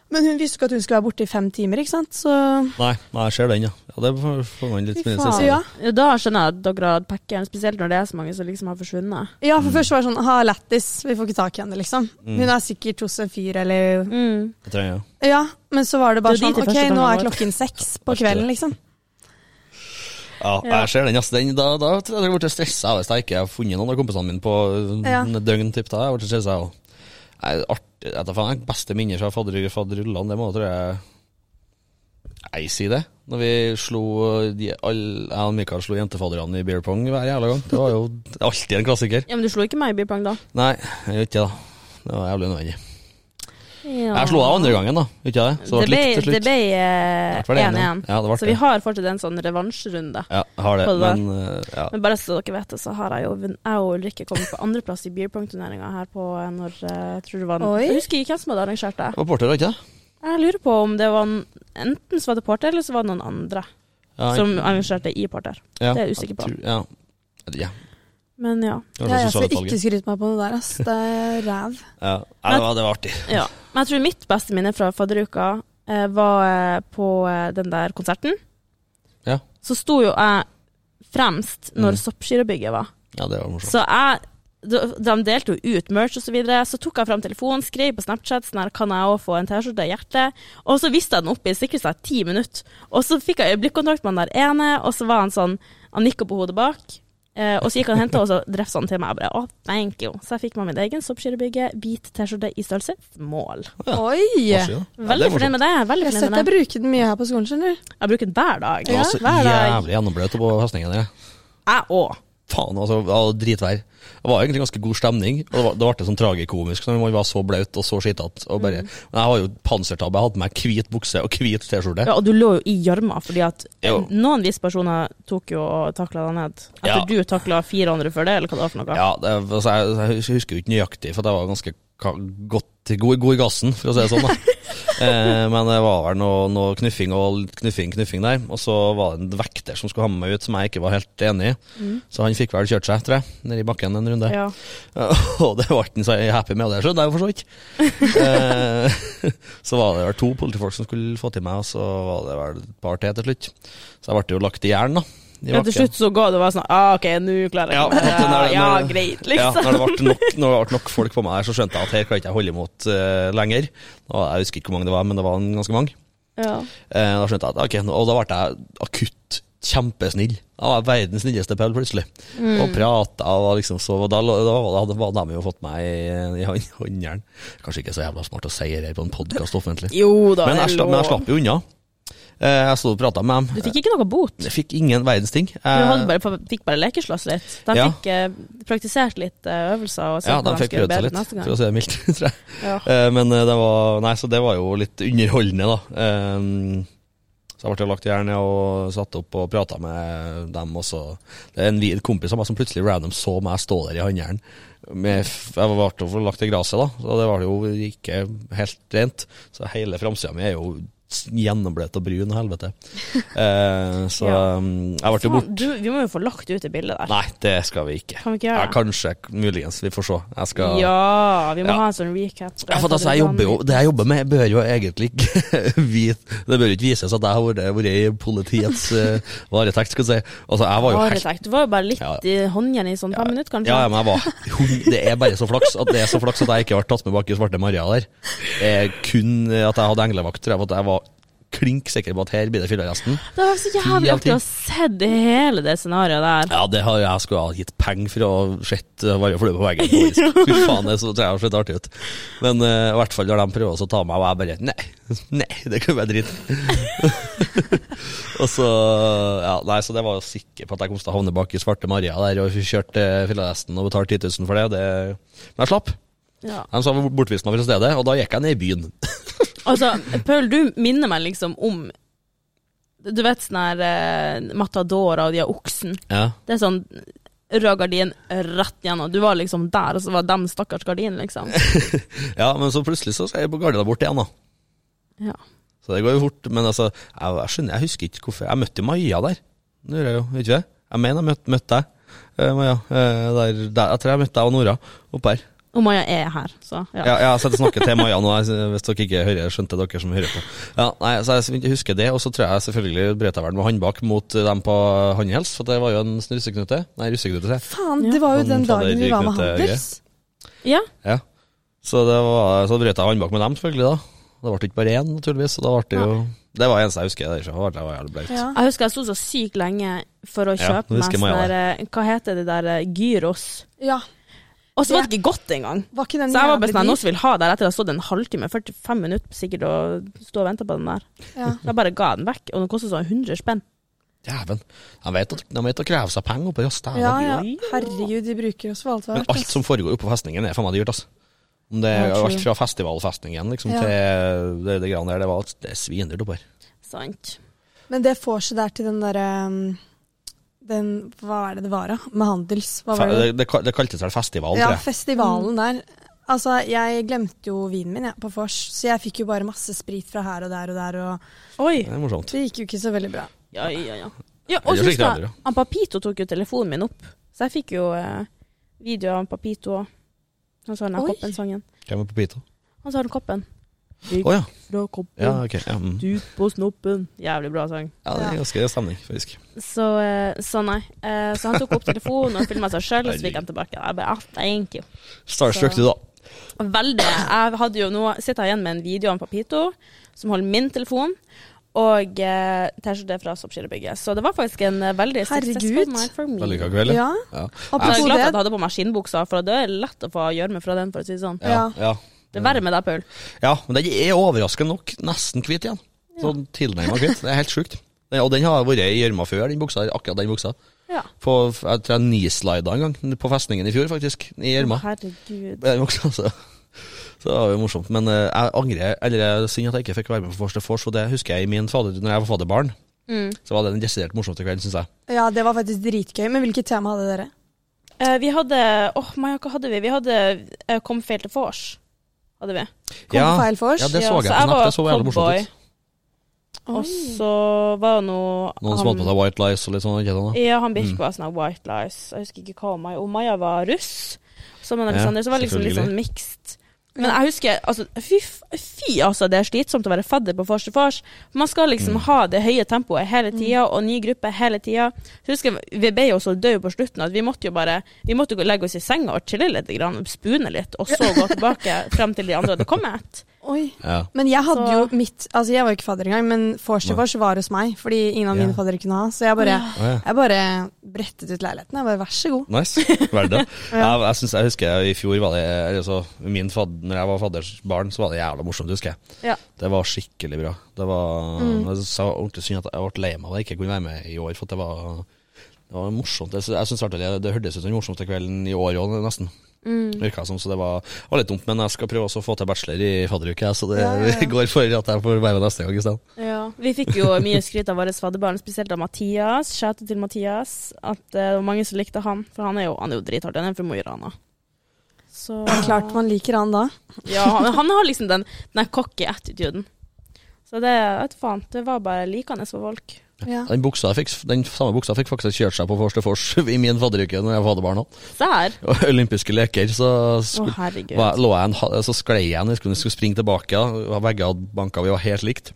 Speaker 3: Men hun visste jo ikke at hun skulle være borte i fem timer, ikke sant? Så
Speaker 2: Nei, nei, jeg ser den, ja. ja det får får man litt
Speaker 3: fy
Speaker 2: mindre
Speaker 3: faen.
Speaker 2: stress
Speaker 3: Ja.
Speaker 2: av.
Speaker 1: Ja, Da skjønner jeg at dere har hatt packeren, spesielt når det er så mange som liksom har forsvunnet.
Speaker 3: ja, for først var det sånn Ha, lættis, vi får ikke tak i henne, liksom.
Speaker 2: Mm.
Speaker 3: Hun er sikkert hos en fyr, eller
Speaker 1: Mm.
Speaker 2: Jeg trenger ja.
Speaker 3: Ja, men så var det bare
Speaker 1: Det er
Speaker 3: sånn
Speaker 1: dit det
Speaker 3: OK,
Speaker 1: første
Speaker 3: nå
Speaker 1: kommer
Speaker 3: er
Speaker 1: vår.
Speaker 3: klokken seks på
Speaker 2: Verste.
Speaker 3: kvelden, liksom.
Speaker 2: Ja,
Speaker 1: Ja.
Speaker 2: jeg ser den, ass. Den, da, da tror jeg jeg hadde blitt stressa hvis jeg ikke hadde funnet noen av kompisene mine på eh,
Speaker 3: Ja.
Speaker 2: en døgn. Typ, da. Jeg hadde blitt stresset, jeg også. Nei, artig, jeg vet da faen, jeg beste minner fra fadder- fadderullene, det må tror jeg Jeg sier det. Når vi slo de, all, Jeg og Mikael slo jentefadderne i beer pong hver jævla gang. Det var jo alltid en klassiker.
Speaker 1: Ja, men du slo ikke meg i Birpang, da.
Speaker 2: Nei, jeg gjør ikke det. da. Det var jævlig nødvendig. Jeg slo deg andre gangen, da. Gjør ikke jeg det? Så det
Speaker 1: Det
Speaker 2: ble
Speaker 1: ble
Speaker 2: likt til
Speaker 1: det
Speaker 2: slutt.
Speaker 1: ble,
Speaker 2: Det
Speaker 1: eh,
Speaker 2: ble
Speaker 1: 1-1.
Speaker 2: Ja, det ble
Speaker 1: Så vi
Speaker 2: det.
Speaker 1: har fortsatt en sånn revansjerunde.
Speaker 2: Ja, jeg har det,
Speaker 1: På det der.
Speaker 2: men eh, ja.
Speaker 1: Men bare så dere vet det, så har jeg jo vunnet Jeg og Ulrikke kommet på andreplass i beer pong-turneringa her på eh, når eh, Jeg tror det var en,
Speaker 3: Oi.
Speaker 1: Jeg husker ikke hvem som hadde arrangert det.
Speaker 2: Det var Porter, ikke det?
Speaker 1: Jeg lurer på om det var en, enten så var det Porter, eller så var det noen andre
Speaker 2: Ja,
Speaker 1: som arrangerte i Porter.
Speaker 2: ja,
Speaker 1: det er jeg usikker på.
Speaker 2: tror- Ja. ja.
Speaker 1: Men ja.
Speaker 2: Det var
Speaker 3: Ja,
Speaker 2: det
Speaker 3: jeg
Speaker 2: sosiale
Speaker 3: skal
Speaker 2: valget.
Speaker 3: ikke skryte meg på noe der, ass. Det er ræv.
Speaker 2: Ja. Nei, det, var, det var artig.
Speaker 1: ja. Men jeg tror mitt beste minne fra fadderuka eh, var eh, på eh, den der konserten.
Speaker 2: Ja.
Speaker 1: Så sto jo jeg fremst når
Speaker 2: Mm.
Speaker 1: Soppskyrebygget var.
Speaker 2: Ja, det var morsomt.
Speaker 1: Så jeg de, de delte jo ut merch og Så, videre, så tok jeg fram telefonen, skrev på Snapchat sånn her, kan jeg også få en T-skjorte i hjertet. Og så viste jeg den opp i sikkert sånn ti minutter. Og så fikk jeg øyeblikkkontakt med han der ene, og så var han sånn Han nikka på hodet bak. Eh, og så gikk han og henta, og så drefsa han til meg. Jeg bare, å, thank you. Så jeg fikk meg min egen soppskyrebygge, hvit T-skjorte i størrelse small.
Speaker 2: Ja.
Speaker 3: Oi!
Speaker 2: Artig,
Speaker 3: Jeg
Speaker 2: da. Ja,
Speaker 1: Veldig
Speaker 2: det er
Speaker 1: fornøyd med det. Veldig
Speaker 3: har sett
Speaker 1: fornøyd
Speaker 3: deg
Speaker 1: med det.
Speaker 3: bruke den mye her på skolen, skjønner du.
Speaker 1: Jeg bruker den hver dag.
Speaker 2: morsomt. Jeg var så
Speaker 1: hver dag.
Speaker 2: jævlig gjennombløt på festningen. dere.
Speaker 1: Jeg òg.
Speaker 2: Faen, altså. Det var dritvær. Det var egentlig ganske god stemning. Og det, var, det ble sånn tragikomisk når man var så blaut og så skittete. og bare-
Speaker 1: Mm.
Speaker 2: Men jeg har jo pansertabbe. Jeg hadde på meg hvit bukse og hvit T-skjorte.
Speaker 1: Ja, og du lå jo i gjørma, fordi at
Speaker 2: Jo.
Speaker 1: noen visse personer tok jo og takla deg ned. Etter
Speaker 2: Ja.
Speaker 1: du takla fire andre før det, eller hva det var for noe.
Speaker 2: Ja, det, altså, jeg, jeg husker jo ikke nøyaktig, for at jeg var ganske ka- godt, god, god i gassen, for å si det sånn. Da. eh, men det var vel noe, noe knuffing og litt knuffing, knuffing der. Og så var det en vekter som skulle ha med meg ut, som jeg ikke var helt enig i. Så han fikk vel kjørt seg, tror jeg, nedi bakken en runde.
Speaker 1: Mm. Ja.
Speaker 2: og det ble han så happy med, og det skjønner jeg jo for så vidt. eh, så var det vel to politifolk som skulle få til meg, og så var det vel et par til til slutt. Så jeg ble jo lagt i jern, da. i
Speaker 1: Ja, til
Speaker 2: bakken.
Speaker 1: slutt så ga det og var sånn ah, OK, nå klarer jeg
Speaker 2: Ja,
Speaker 1: ikke
Speaker 2: at når-
Speaker 1: mer. Ja,
Speaker 2: når-
Speaker 1: greit,
Speaker 2: Ja,
Speaker 1: liksom.
Speaker 2: når det ble nok, når det ble nok folk på meg her, så skjønte jeg at her kan jeg ikke holde imot eh, lenger. Og jeg husker ikke hvor mange det var, men det var en ganske mange.
Speaker 1: Ja.
Speaker 2: Eh, da skjønte jeg at, ok, nå- og da ble jeg akutt kjempesnill. Jeg var verdens snilleste pell, plutselig.
Speaker 1: Mm.
Speaker 2: Og prata og var liksom så og Da, lå- da var da hadde de jo fått meg i, i hånd- håndjern. Kanskje ikke så jævla smart å si det her på en podkast offentlig.
Speaker 1: Jo da,
Speaker 2: Men
Speaker 1: det
Speaker 2: jeg,
Speaker 1: er
Speaker 2: slapp, men jeg
Speaker 1: lov.
Speaker 2: slapp jo unna. Eh, jeg sto og prata med
Speaker 1: Du
Speaker 2: dem.
Speaker 1: fikk ikke noe bot.
Speaker 2: Jeg fikk ingen verdens ting.
Speaker 1: Du
Speaker 2: Eh,
Speaker 1: hadde bare, fikk bare lekeslåss litt. De
Speaker 2: Ja.
Speaker 1: fikk eh, praktisert litt eh, øvelser. Og sett
Speaker 2: ja, de
Speaker 1: hvordan
Speaker 2: fikk
Speaker 1: skulle
Speaker 2: prøvd seg
Speaker 1: bedre
Speaker 2: litt,
Speaker 1: neste gang.
Speaker 2: for å si det mildt. tror jeg.
Speaker 1: Ja.
Speaker 2: Eh, Men eh, det var Nei, så det var jo litt underholdende, da. Eh, Så jeg ble lagt i jern og satt opp og prata med dem også. Det er en vi- kompis av meg som plutselig random så meg stå der i håndjern. med f- Jeg ble jo lagt i gresset, da, så det var jo ikke helt rent. Så hele framsida mi er jo s- gjennombløt og brun, helvete. Eh, Så
Speaker 1: Ja.
Speaker 2: um, jeg ble jo borte.
Speaker 1: Faen, du, vi må jo få lagt ut det bildet der.
Speaker 2: Nei, det skal vi ikke.
Speaker 1: Kan vi ikke
Speaker 2: Ja,
Speaker 1: gjøre det?
Speaker 2: kanskje, muligens. Vi får se. Jeg skal
Speaker 1: Ja, vi må
Speaker 2: Ja.
Speaker 1: ha en sånn recap. Sånn
Speaker 2: Ja, for altså, jeg jobber jo, Det jeg jobber med, bør jo egentlig ikke vite Det bør jo ikke vises at jeg har vært- vært i politiets eh, varetekt, skal jeg si. Altså, jeg var jo helt
Speaker 1: Varetekt. Du var jo bare litt
Speaker 2: Ja.
Speaker 1: i håndjern i sånn fem minutter, kanskje.
Speaker 2: ja, ja, men jeg var hun- Det er bare så flaks at det er så flaks at jeg ikke ble tatt med bak i Svarte Maria der. Eh, kun at jeg hadde englevakt, tror jeg. for At jeg var klink sikker på at her blir det fyllearresten.
Speaker 1: Det var så
Speaker 2: Ti
Speaker 1: jævlig
Speaker 2: av ti.
Speaker 1: artig å se det hele det scenarioet der.
Speaker 2: Ja, det har jeg skulle ha gitt penger for å ha sett eh, være flue på veggen. faktisk. Fy faen, det så tror jeg har sett artig ut. Men eh, i hvert fall når de prøver også å ta meg, og jeg bare Nei, nei, det kan være dritt. og så Ja, nei, så det var jeg sikker på at jeg kom til å havne bak i Svarte Maria der og kjørte filleresten og betalte 10 000 for det. det. Men jeg slapp.
Speaker 1: Ja.
Speaker 2: De sa vi bortviste meg fra stedet, og da gikk jeg ned i byen.
Speaker 1: Altså, Paul, du minner meg liksom om Du vet sånn her eh, Matadora og de her oksen.
Speaker 2: Ja.
Speaker 1: Det er sånn rød gardin rett gjennom. Du var liksom der, og så var dem stakkars gardin, liksom.
Speaker 2: ja, men så plutselig så skal jeg på gardina bort igjen, da.
Speaker 1: Ja.
Speaker 2: Så det går jo fort. Men altså, jeg, jeg skjønner, jeg husker ikke hvorfor Jeg møtte jo Maja der. Det gjør jeg jo, vet ikke det? Jeg mener jeg møtte, møtte deg, eh, Maja. eh, der, der, jeg tror jeg møtte deg og Nora oppe her.
Speaker 1: Og Maja er her, så
Speaker 2: Ja,
Speaker 1: ja.
Speaker 2: ja jeg sitter og snakker til Maja nå, jeg- hvis dere ikke hører, skjønte dere som hører på. Ja, nei, så Jeg husker det, og så tror jeg selvfølgelig brøt jeg vel med håndbak mot eh, dem på Handhels, for det var jo en russeknute. Nei, russeknute, sier jeg.
Speaker 3: Faen,
Speaker 1: Ja.
Speaker 3: det var jo
Speaker 2: Sånn
Speaker 3: den dagen vi var med
Speaker 2: faderknute-greie.
Speaker 3: Handels.
Speaker 1: ja.
Speaker 2: Ja. Så, det var, så brøt jeg håndbak med dem, selvfølgelig. da Det ble ikke bare én, naturligvis. Og da ble det jo Det var det eneste jeg husker. Det var det var jævlig blaut.
Speaker 3: Ja.
Speaker 1: Jeg husker jeg sto så sykt lenge for å
Speaker 2: Ja,
Speaker 1: kjøpe
Speaker 2: nå
Speaker 1: meg
Speaker 2: husker jeg
Speaker 1: sånn
Speaker 2: Maja
Speaker 1: der eh, Hva heter det der eh, gyros?
Speaker 3: ja.
Speaker 1: Og så var det ikke godt engang.
Speaker 3: Var ikke den
Speaker 1: Så jeg var bare
Speaker 3: jævlig
Speaker 1: sånn,
Speaker 3: dyr?
Speaker 1: noen som vil ha der etter å ha stått en halvtime, 45 minutter sikkert, og stå og vente på den der.
Speaker 3: Ja.
Speaker 1: Så jeg bare ga den vekk, og den kostet sånn 100 spenn.
Speaker 2: Dæven. De vet, at- de vet å kreve seg penger oppe i Jasta.
Speaker 3: ja, ja. Herregud, de bruker oss for alt vi
Speaker 2: Men
Speaker 3: har.
Speaker 2: alt som foregår oppe på festningen, er faen meg dyrt, altså. Om det
Speaker 1: Ja,
Speaker 2: er
Speaker 1: true.
Speaker 2: alt fra festivalfestningen liksom,
Speaker 3: Ja.
Speaker 2: til det, det greiene der, det var det er svindyrt oppe her.
Speaker 1: Sant.
Speaker 3: Men det får seg der til den derre um, den, Hva er det det var, da? Med Handels? Hva
Speaker 2: Fe-
Speaker 3: var det?
Speaker 2: Det, det, kal- det kaltes vel festival,
Speaker 3: Ja,
Speaker 2: tror jeg.
Speaker 3: festivalen der. Altså, jeg glemte jo vinen min jeg, på vors, så jeg fikk jo bare masse sprit fra her og der og der, og
Speaker 1: Oi.
Speaker 2: Det er morsomt.
Speaker 3: det gikk jo ikke så veldig bra.
Speaker 1: Ja, ja, ja. ja
Speaker 2: Jeg
Speaker 1: og så
Speaker 2: gjør slik
Speaker 1: husker jeg,
Speaker 2: det andre,
Speaker 1: han Papito tok jo telefonen min opp, så jeg fikk jo eh, video av han Papito òg. Han sa den
Speaker 3: Oi.
Speaker 1: der koppen-sangen.
Speaker 2: Hvem er på Pito?
Speaker 1: Han sa den koppen.
Speaker 2: Å ja.
Speaker 1: Fra koppen,
Speaker 2: ja, ok. Ja, mm.
Speaker 1: ut på snoppen. Jævlig bra sang.
Speaker 2: ja, det er ganske stemning, faktisk.
Speaker 1: Så, eh, så nei. Eh, Så han tok opp telefonen og filma seg sjøl, og så fikk han tilbake. Jeg bare, ah, thank you.
Speaker 2: Starstruck, du, da.
Speaker 1: Veldig. Jeg hadde jo nå sitter jeg igjen med en video av en Papito som holder min telefon, og eh, T-skjorte fra Soppskillebygget. Så det var faktisk en eh, veldig
Speaker 3: Herregud.
Speaker 1: successful night for me.
Speaker 2: Vellykka kveld.
Speaker 3: Ja,
Speaker 2: Ja.
Speaker 1: Jeg er glad
Speaker 3: apropos
Speaker 1: for at jeg
Speaker 3: det.
Speaker 1: hadde på meg skinnbuksa, for det er lett å få gjørme fra den. for å si det sånn.
Speaker 2: Ja.
Speaker 3: Ja.
Speaker 2: Ja.
Speaker 1: Det er verre med deg, Paul.
Speaker 2: ja, men den er overraskende nok nesten hvit igjen. Sånn tilnærma hvit. Det er helt sjukt. Den- Og den har vært i gjørma før, den buksa. Akkurat den buksa.
Speaker 1: Ja.
Speaker 2: På, jeg tror jeg nislida en gang, på festningen i fjor, faktisk. I gjørma.
Speaker 1: Herregud.
Speaker 2: Jeg også, altså. Så det var jo morsomt. Men eh, jeg angrer, eller det er synd at jeg ikke fikk være med på Forster Force, og det husker jeg i min fader, når jeg var fadderbarn.
Speaker 1: Mm.
Speaker 2: Så var det den desidert morsomste kvelden, syns jeg.
Speaker 3: Ja, det var faktisk dritgøy. Men hvilket tema hadde dere?
Speaker 1: Eh, vi hadde Åh, Maja, hva hadde vi? Vi hadde eh, Kom feil til vors. Hadde vi.
Speaker 3: Kom på feil vors?
Speaker 2: ja, det
Speaker 1: Ja, så
Speaker 2: så jeg på
Speaker 1: jeg
Speaker 2: Snap,
Speaker 1: var
Speaker 2: det så
Speaker 1: cowboy.
Speaker 2: jævlig morsomt ut.
Speaker 1: Og
Speaker 3: Oi.
Speaker 1: så var nå
Speaker 2: Noen som hadde på seg White Lies og litt sånn. Ikke sant, da?
Speaker 1: Ja, han Birk
Speaker 2: Mm.
Speaker 1: var sånn her white lies. Jeg husker ikke hva Maja Og Maja var russ. Som en
Speaker 2: Ja,
Speaker 1: Alexander, så var det liksom litt sånn mixed. Men jeg husker altså, fy, f- fy, altså, det er slitsomt å være fadder på vors til vors. Man skal liksom
Speaker 2: Mm.
Speaker 1: ha det høye tempoet hele tida, og ny gruppe hele tida. Så husker jeg, vi ble jo så døde på slutten at vi måtte jo bare Vi måtte jo legge oss i senga og chille litt, grann, spune litt, og så gå tilbake frem til de andre hadde kommet.
Speaker 3: Oi.
Speaker 2: Ja.
Speaker 3: Men jeg hadde
Speaker 1: Så-
Speaker 3: jo mitt Altså, jeg var jo ikke fadder engang, men vors til
Speaker 2: Nei.
Speaker 3: vors var hos meg, fordi ingen av
Speaker 2: Ja.
Speaker 3: mine faddere kunne ha. Så jeg bare,
Speaker 2: Å, ja.
Speaker 3: jeg bare brettet ut leiligheten. Jeg bare, vær så god.
Speaker 2: Nice. Verdt det. Jeg, jeg, synes, jeg husker i fjor var det eller så, min fad, Når jeg var fadders barn, så var det jævla morsomt, husker jeg.
Speaker 1: Ja.
Speaker 2: Det var skikkelig bra. Det var
Speaker 3: Mm.
Speaker 2: Jeg synes det var ordentlig synd at jeg ble lei meg av at jeg ikke kunne være med i år, for at det var det var morsomt. Jeg, synes- jeg synes i hvert fall det, det hørtes ut som den morsomste kvelden i år òg, nesten.
Speaker 3: Mm.
Speaker 2: Virka som, så det var, det var litt dumt. Men jeg skal prøve også å få til bachelor i fadderuke, jeg, så det
Speaker 3: Ja, ja, ja.
Speaker 2: går for at jeg får være med neste gang i stedet.
Speaker 1: Ja, Vi fikk jo mye skryt av våre fadderbarn, spesielt av Mathias. Kjære til Mathias. At eh, det var mange som likte han, for han er jo, han er jo drithard. Han er fra Mo i Rana. Så
Speaker 3: Men klart man liker han da.
Speaker 1: Ja, han, han har liksom den, den her cocky attituden. Så det vet du faen, det var bare likende for folk.
Speaker 3: Ja.
Speaker 2: Den, buksa jeg fikk, den samme buksa fikk faktisk kjørt seg på Forster Fors i min fadderuke når jeg var fadderbarn òg.
Speaker 1: Der!
Speaker 2: Og olympiske leker, så
Speaker 1: Å,
Speaker 2: skulle,
Speaker 1: herregud.
Speaker 2: var, lå jeg en, ha- så sklei jeg når jeg skulle, skulle springe tilbake. Ja. Vegger og banker vi var helt likt.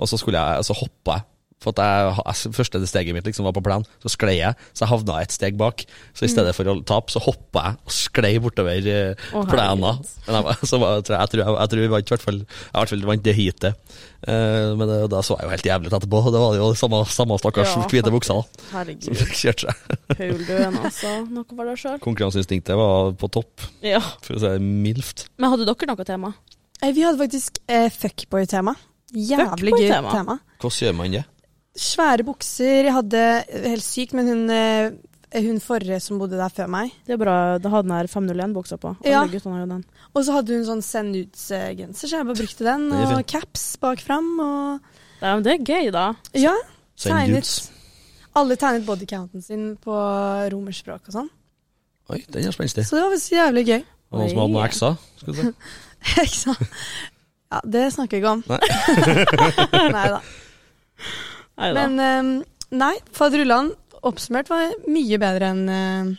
Speaker 2: Og så, skulle jeg, så hoppa jeg. For at jeg, jeg, første steget mitt liksom var på plan, så sklei jeg. Så jeg havna et steg bak. Så i stedet for å tape, så hoppa jeg og sklei bortover
Speaker 1: Mm.
Speaker 2: eh,
Speaker 1: Å, herregud.
Speaker 2: plena. Men jeg, var- så var, jeg, tror- jeg, tror jeg, jeg tror vi vant, i hvert fall. Jeg i hvert fall vant det heatet. Eh, men det, da så jeg jo helt jævlig ut etterpå. Det var jo samme, samme stakkars
Speaker 1: Ja,
Speaker 2: hvite buksa da, som
Speaker 1: Herregud,
Speaker 2: kjørte seg.
Speaker 1: Paul Døen, altså. Noe for deg sjøl.
Speaker 2: Konkurranseinstinktet var på topp,
Speaker 1: Ja.
Speaker 2: for å si det mildt.
Speaker 1: Men hadde dere noe tema?
Speaker 3: Eh, Vi hadde faktisk eh, fuckboy-tema. Jævlig gøy
Speaker 1: Fuckboy-tema?
Speaker 3: tema.
Speaker 2: Hvordan gjør man det?
Speaker 3: Svære bukser. Jeg hadde helt sykt, men hun eh, hun forrige som bodde der før meg.
Speaker 1: Det er bra. Da hadde den her 501-buksa på. Alle
Speaker 3: Ja.
Speaker 1: guttene har jo den.
Speaker 3: Og så hadde hun sånn send-ut-genser, så jeg bare brukte den.
Speaker 2: Den er
Speaker 3: Og
Speaker 2: fin.
Speaker 3: caps bak fram. Og
Speaker 1: Det er, det er gøy, da.
Speaker 3: ja,
Speaker 2: Send
Speaker 3: tegnet.
Speaker 2: dudes.
Speaker 3: Alle tegnet bodycounten sin på romerspråk og sånn.
Speaker 2: Oi, den er spenstig.
Speaker 3: Så det var visst jævlig gøy.
Speaker 2: Og Noen som hadde noen ekser? Skal du si.
Speaker 3: Ikke sant? Ja, det snakker vi ikke om.
Speaker 2: Nei.
Speaker 3: nei da.
Speaker 1: Nei da.
Speaker 3: Men ehm, nei, fadderullan oppsummert var mye bedre enn eh,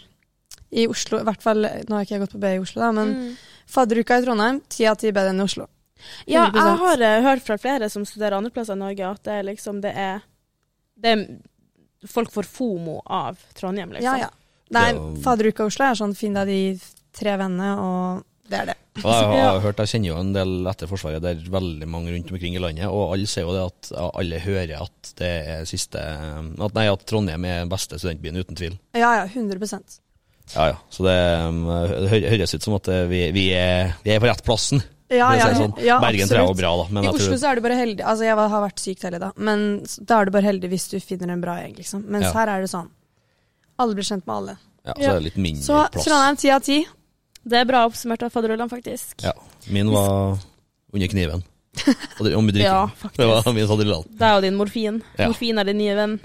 Speaker 3: i Oslo. I hvert fall, nå har ikke jeg gått på B i Oslo, da, men
Speaker 1: Mm.
Speaker 3: fadderuka i Trondheim, ti av ti bedre enn i Oslo.
Speaker 1: Ja, jeg
Speaker 3: 100%.
Speaker 1: har eh, hørt fra flere som studerer andre plasser i Norge, at det er liksom det er, det er Folk får fomo av Trondheim, liksom.
Speaker 3: Ja, ja. Nei,
Speaker 2: Det er jo-
Speaker 3: fadderuka i Oslo er sånn fin da de tre vennene, og det er det.
Speaker 2: Og jeg har jeg har hørt, jeg kjenner jo en del etter Forsvaret, det er veldig mange rundt omkring i landet, og alle sier jo det at ja, alle hører at det er siste um, at, Nei, at Trondheim er den beste studentbyen, uten tvil.
Speaker 3: Ja, ja, 100
Speaker 2: Ja, ja. Så det um, hø- høres ut som at eh, vi, vi, er, vi er på rett plassen.
Speaker 3: Ja,
Speaker 2: for å
Speaker 3: ja,
Speaker 2: si det sånn.
Speaker 3: ja,
Speaker 2: Bergen tror jeg var
Speaker 3: absolutt.
Speaker 2: bra, da. Men
Speaker 3: I
Speaker 2: jeg
Speaker 3: Oslo
Speaker 2: tror,
Speaker 3: så er du bare heldig. Altså, jeg var- har vært sykt heldig, da. Men s- da er du bare heldig hvis du finner en bra gjeng, liksom. Mens
Speaker 2: Ja.
Speaker 3: her er det sånn. Alle blir kjent med alle.
Speaker 2: ja, så er det litt mindre
Speaker 3: Så
Speaker 2: plass.
Speaker 3: Trondheim ti av ti.
Speaker 1: Det er bra oppsummert av fadderullan, faktisk.
Speaker 2: Ja. Min var under kniven. Og det- Og med
Speaker 1: Ja,
Speaker 2: drikking.
Speaker 1: faktisk.
Speaker 2: det var min sadrillan.
Speaker 1: Det er jo din morfin.
Speaker 2: Ja.
Speaker 1: Morfin er din nye venn.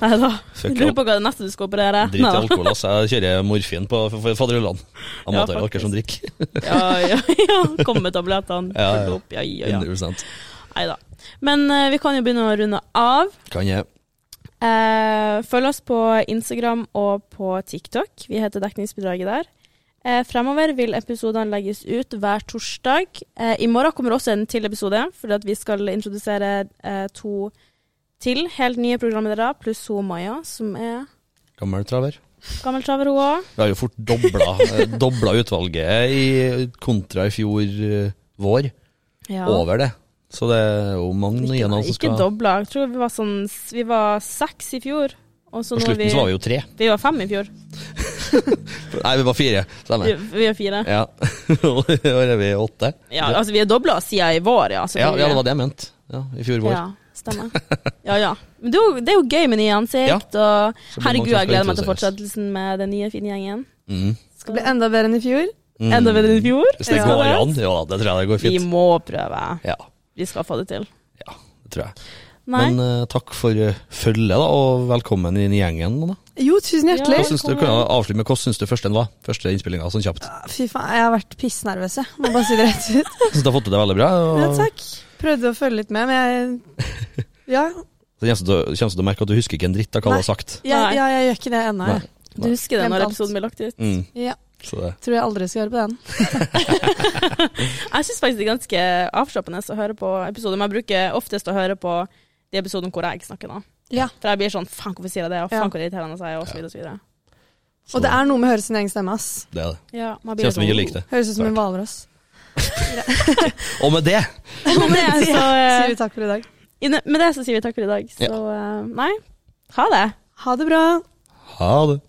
Speaker 1: Nei da.
Speaker 2: Fuck
Speaker 1: Lurer
Speaker 2: all-
Speaker 1: på hva det neste du skal operere.
Speaker 2: Drit i
Speaker 1: Neida.
Speaker 2: alkohol, ass. Jeg kjører morfin på f- f- fadderullan. Amatører,
Speaker 1: Ja,
Speaker 2: dere som drikker.
Speaker 1: Ja, ja, ja. Kom med tablettene.
Speaker 2: Ja, ja.
Speaker 1: Følg opp. Ja, ja, ja.
Speaker 2: 100
Speaker 1: Nei da. Men eh, vi kan jo begynne å runde av.
Speaker 2: Kan jeg.
Speaker 1: Eh, følg oss på Instagram og på TikTok. Vi heter Dekningsbidraget der. Eh, fremover vil episodene legges ut hver torsdag. Eh, I morgen kommer også en til episode, fordi at vi skal introdusere eh, to til helt nye programledere, pluss hun Maja, som er
Speaker 2: Gammel traver.
Speaker 1: gammel traver, hun òg.
Speaker 2: Vi har jo fort dobla, eh, dobla utvalget i kontra i fjor eh, vår.
Speaker 1: Ja.
Speaker 2: Over det. Så det er jo mange nye
Speaker 1: Ikke,
Speaker 2: navn som
Speaker 1: ikke
Speaker 2: altså, skal
Speaker 1: dobla. Jeg tror vi var, sånn, s- vi var seks i fjor. Og så
Speaker 2: På
Speaker 1: nå er
Speaker 2: slutten
Speaker 1: vi,
Speaker 2: så var vi jo tre.
Speaker 1: vi var fem i fjor.
Speaker 2: Nei, vi var fire.
Speaker 1: Vi,
Speaker 2: Stemmer.
Speaker 1: vi er fire.
Speaker 2: Ja. Og i år er vi åtte.
Speaker 1: Ja, altså vi er dobla siden i vår, ja.
Speaker 2: Ja,
Speaker 1: selvfølgelig.
Speaker 2: ja, det var det jeg mente. Ja, I fjor vår.
Speaker 1: Ja, stemmer. Ja, ja. Men det er jo, det er jo gøy med nye ansikt, og
Speaker 2: Så blir
Speaker 1: herregud,
Speaker 2: mange
Speaker 1: jeg gleder meg til
Speaker 2: som skal
Speaker 1: fortsettelsen med den nye fine gjengen.
Speaker 2: Mm.
Speaker 3: Det blir enda bedre enn i fjor.
Speaker 2: Mm.
Speaker 1: Enda bedre enn i fjor.
Speaker 2: Hvis det
Speaker 1: Skal
Speaker 2: går
Speaker 1: det?
Speaker 2: an. Ja, det tror jeg det går
Speaker 1: Vi
Speaker 2: fint.
Speaker 1: må prøve.
Speaker 2: Ja,
Speaker 1: Vi skal få det til.
Speaker 2: det tror jeg.
Speaker 1: Nei.
Speaker 2: Men eh, takk for eh, følget, da, og velkommen inn i gjengen. Da.
Speaker 3: Jo, tusen
Speaker 1: Ja.
Speaker 2: Hva
Speaker 3: hjertelig.
Speaker 2: syns du, kan jeg avslutte med hva syns du første den var? Første innspillinga, sånn kjapt.
Speaker 3: Fy faen, jeg har vært pissnervøs, jeg. Må bare si det rett ut.
Speaker 2: Jeg syns du har fått til det veldig bra. Og
Speaker 3: Ja, takk. Prøvde å følge litt med, men jeg Ja,
Speaker 2: så kommer du kommer du til å merke at du husker ikke en dritt av hva du
Speaker 3: Nei.
Speaker 2: har sagt.
Speaker 1: Nei.
Speaker 3: jeg, ja, jeg gjør ikke det ennå. jeg.
Speaker 2: eh,
Speaker 1: Du husker det
Speaker 3: Glemt
Speaker 1: når
Speaker 3: alt.
Speaker 1: episoden ble lagt ut?
Speaker 2: Mm.
Speaker 3: Ja,
Speaker 2: Så det
Speaker 3: tror jeg aldri skal høre på den.
Speaker 1: Jeg syns faktisk det er ganske avslappende å høre på episoder. Men jeg bruker oftest å høre på de episodene hvor jeg snakker nå.
Speaker 3: Ja.
Speaker 1: For jeg blir sånn faen, hvorfor sier jeg det, og
Speaker 3: Ja.
Speaker 1: faen, hvor irriterende jeg er, og så videre og så videre.
Speaker 2: så
Speaker 3: Og det er noe med å høre sin egen stemme, ass.
Speaker 2: det. er det.
Speaker 1: Ja, man blir
Speaker 2: Kjennes som vi ikke
Speaker 1: sånn-
Speaker 2: liker det.
Speaker 3: Høres ut som en hvalross.
Speaker 2: Og med det
Speaker 1: Og med det så,
Speaker 3: Sier
Speaker 1: eh,
Speaker 3: vi takk for i dag.
Speaker 1: inne- med det så sier vi takk for i dag. Så eh, nei, ha det.
Speaker 3: Ha det bra.
Speaker 2: Ha det.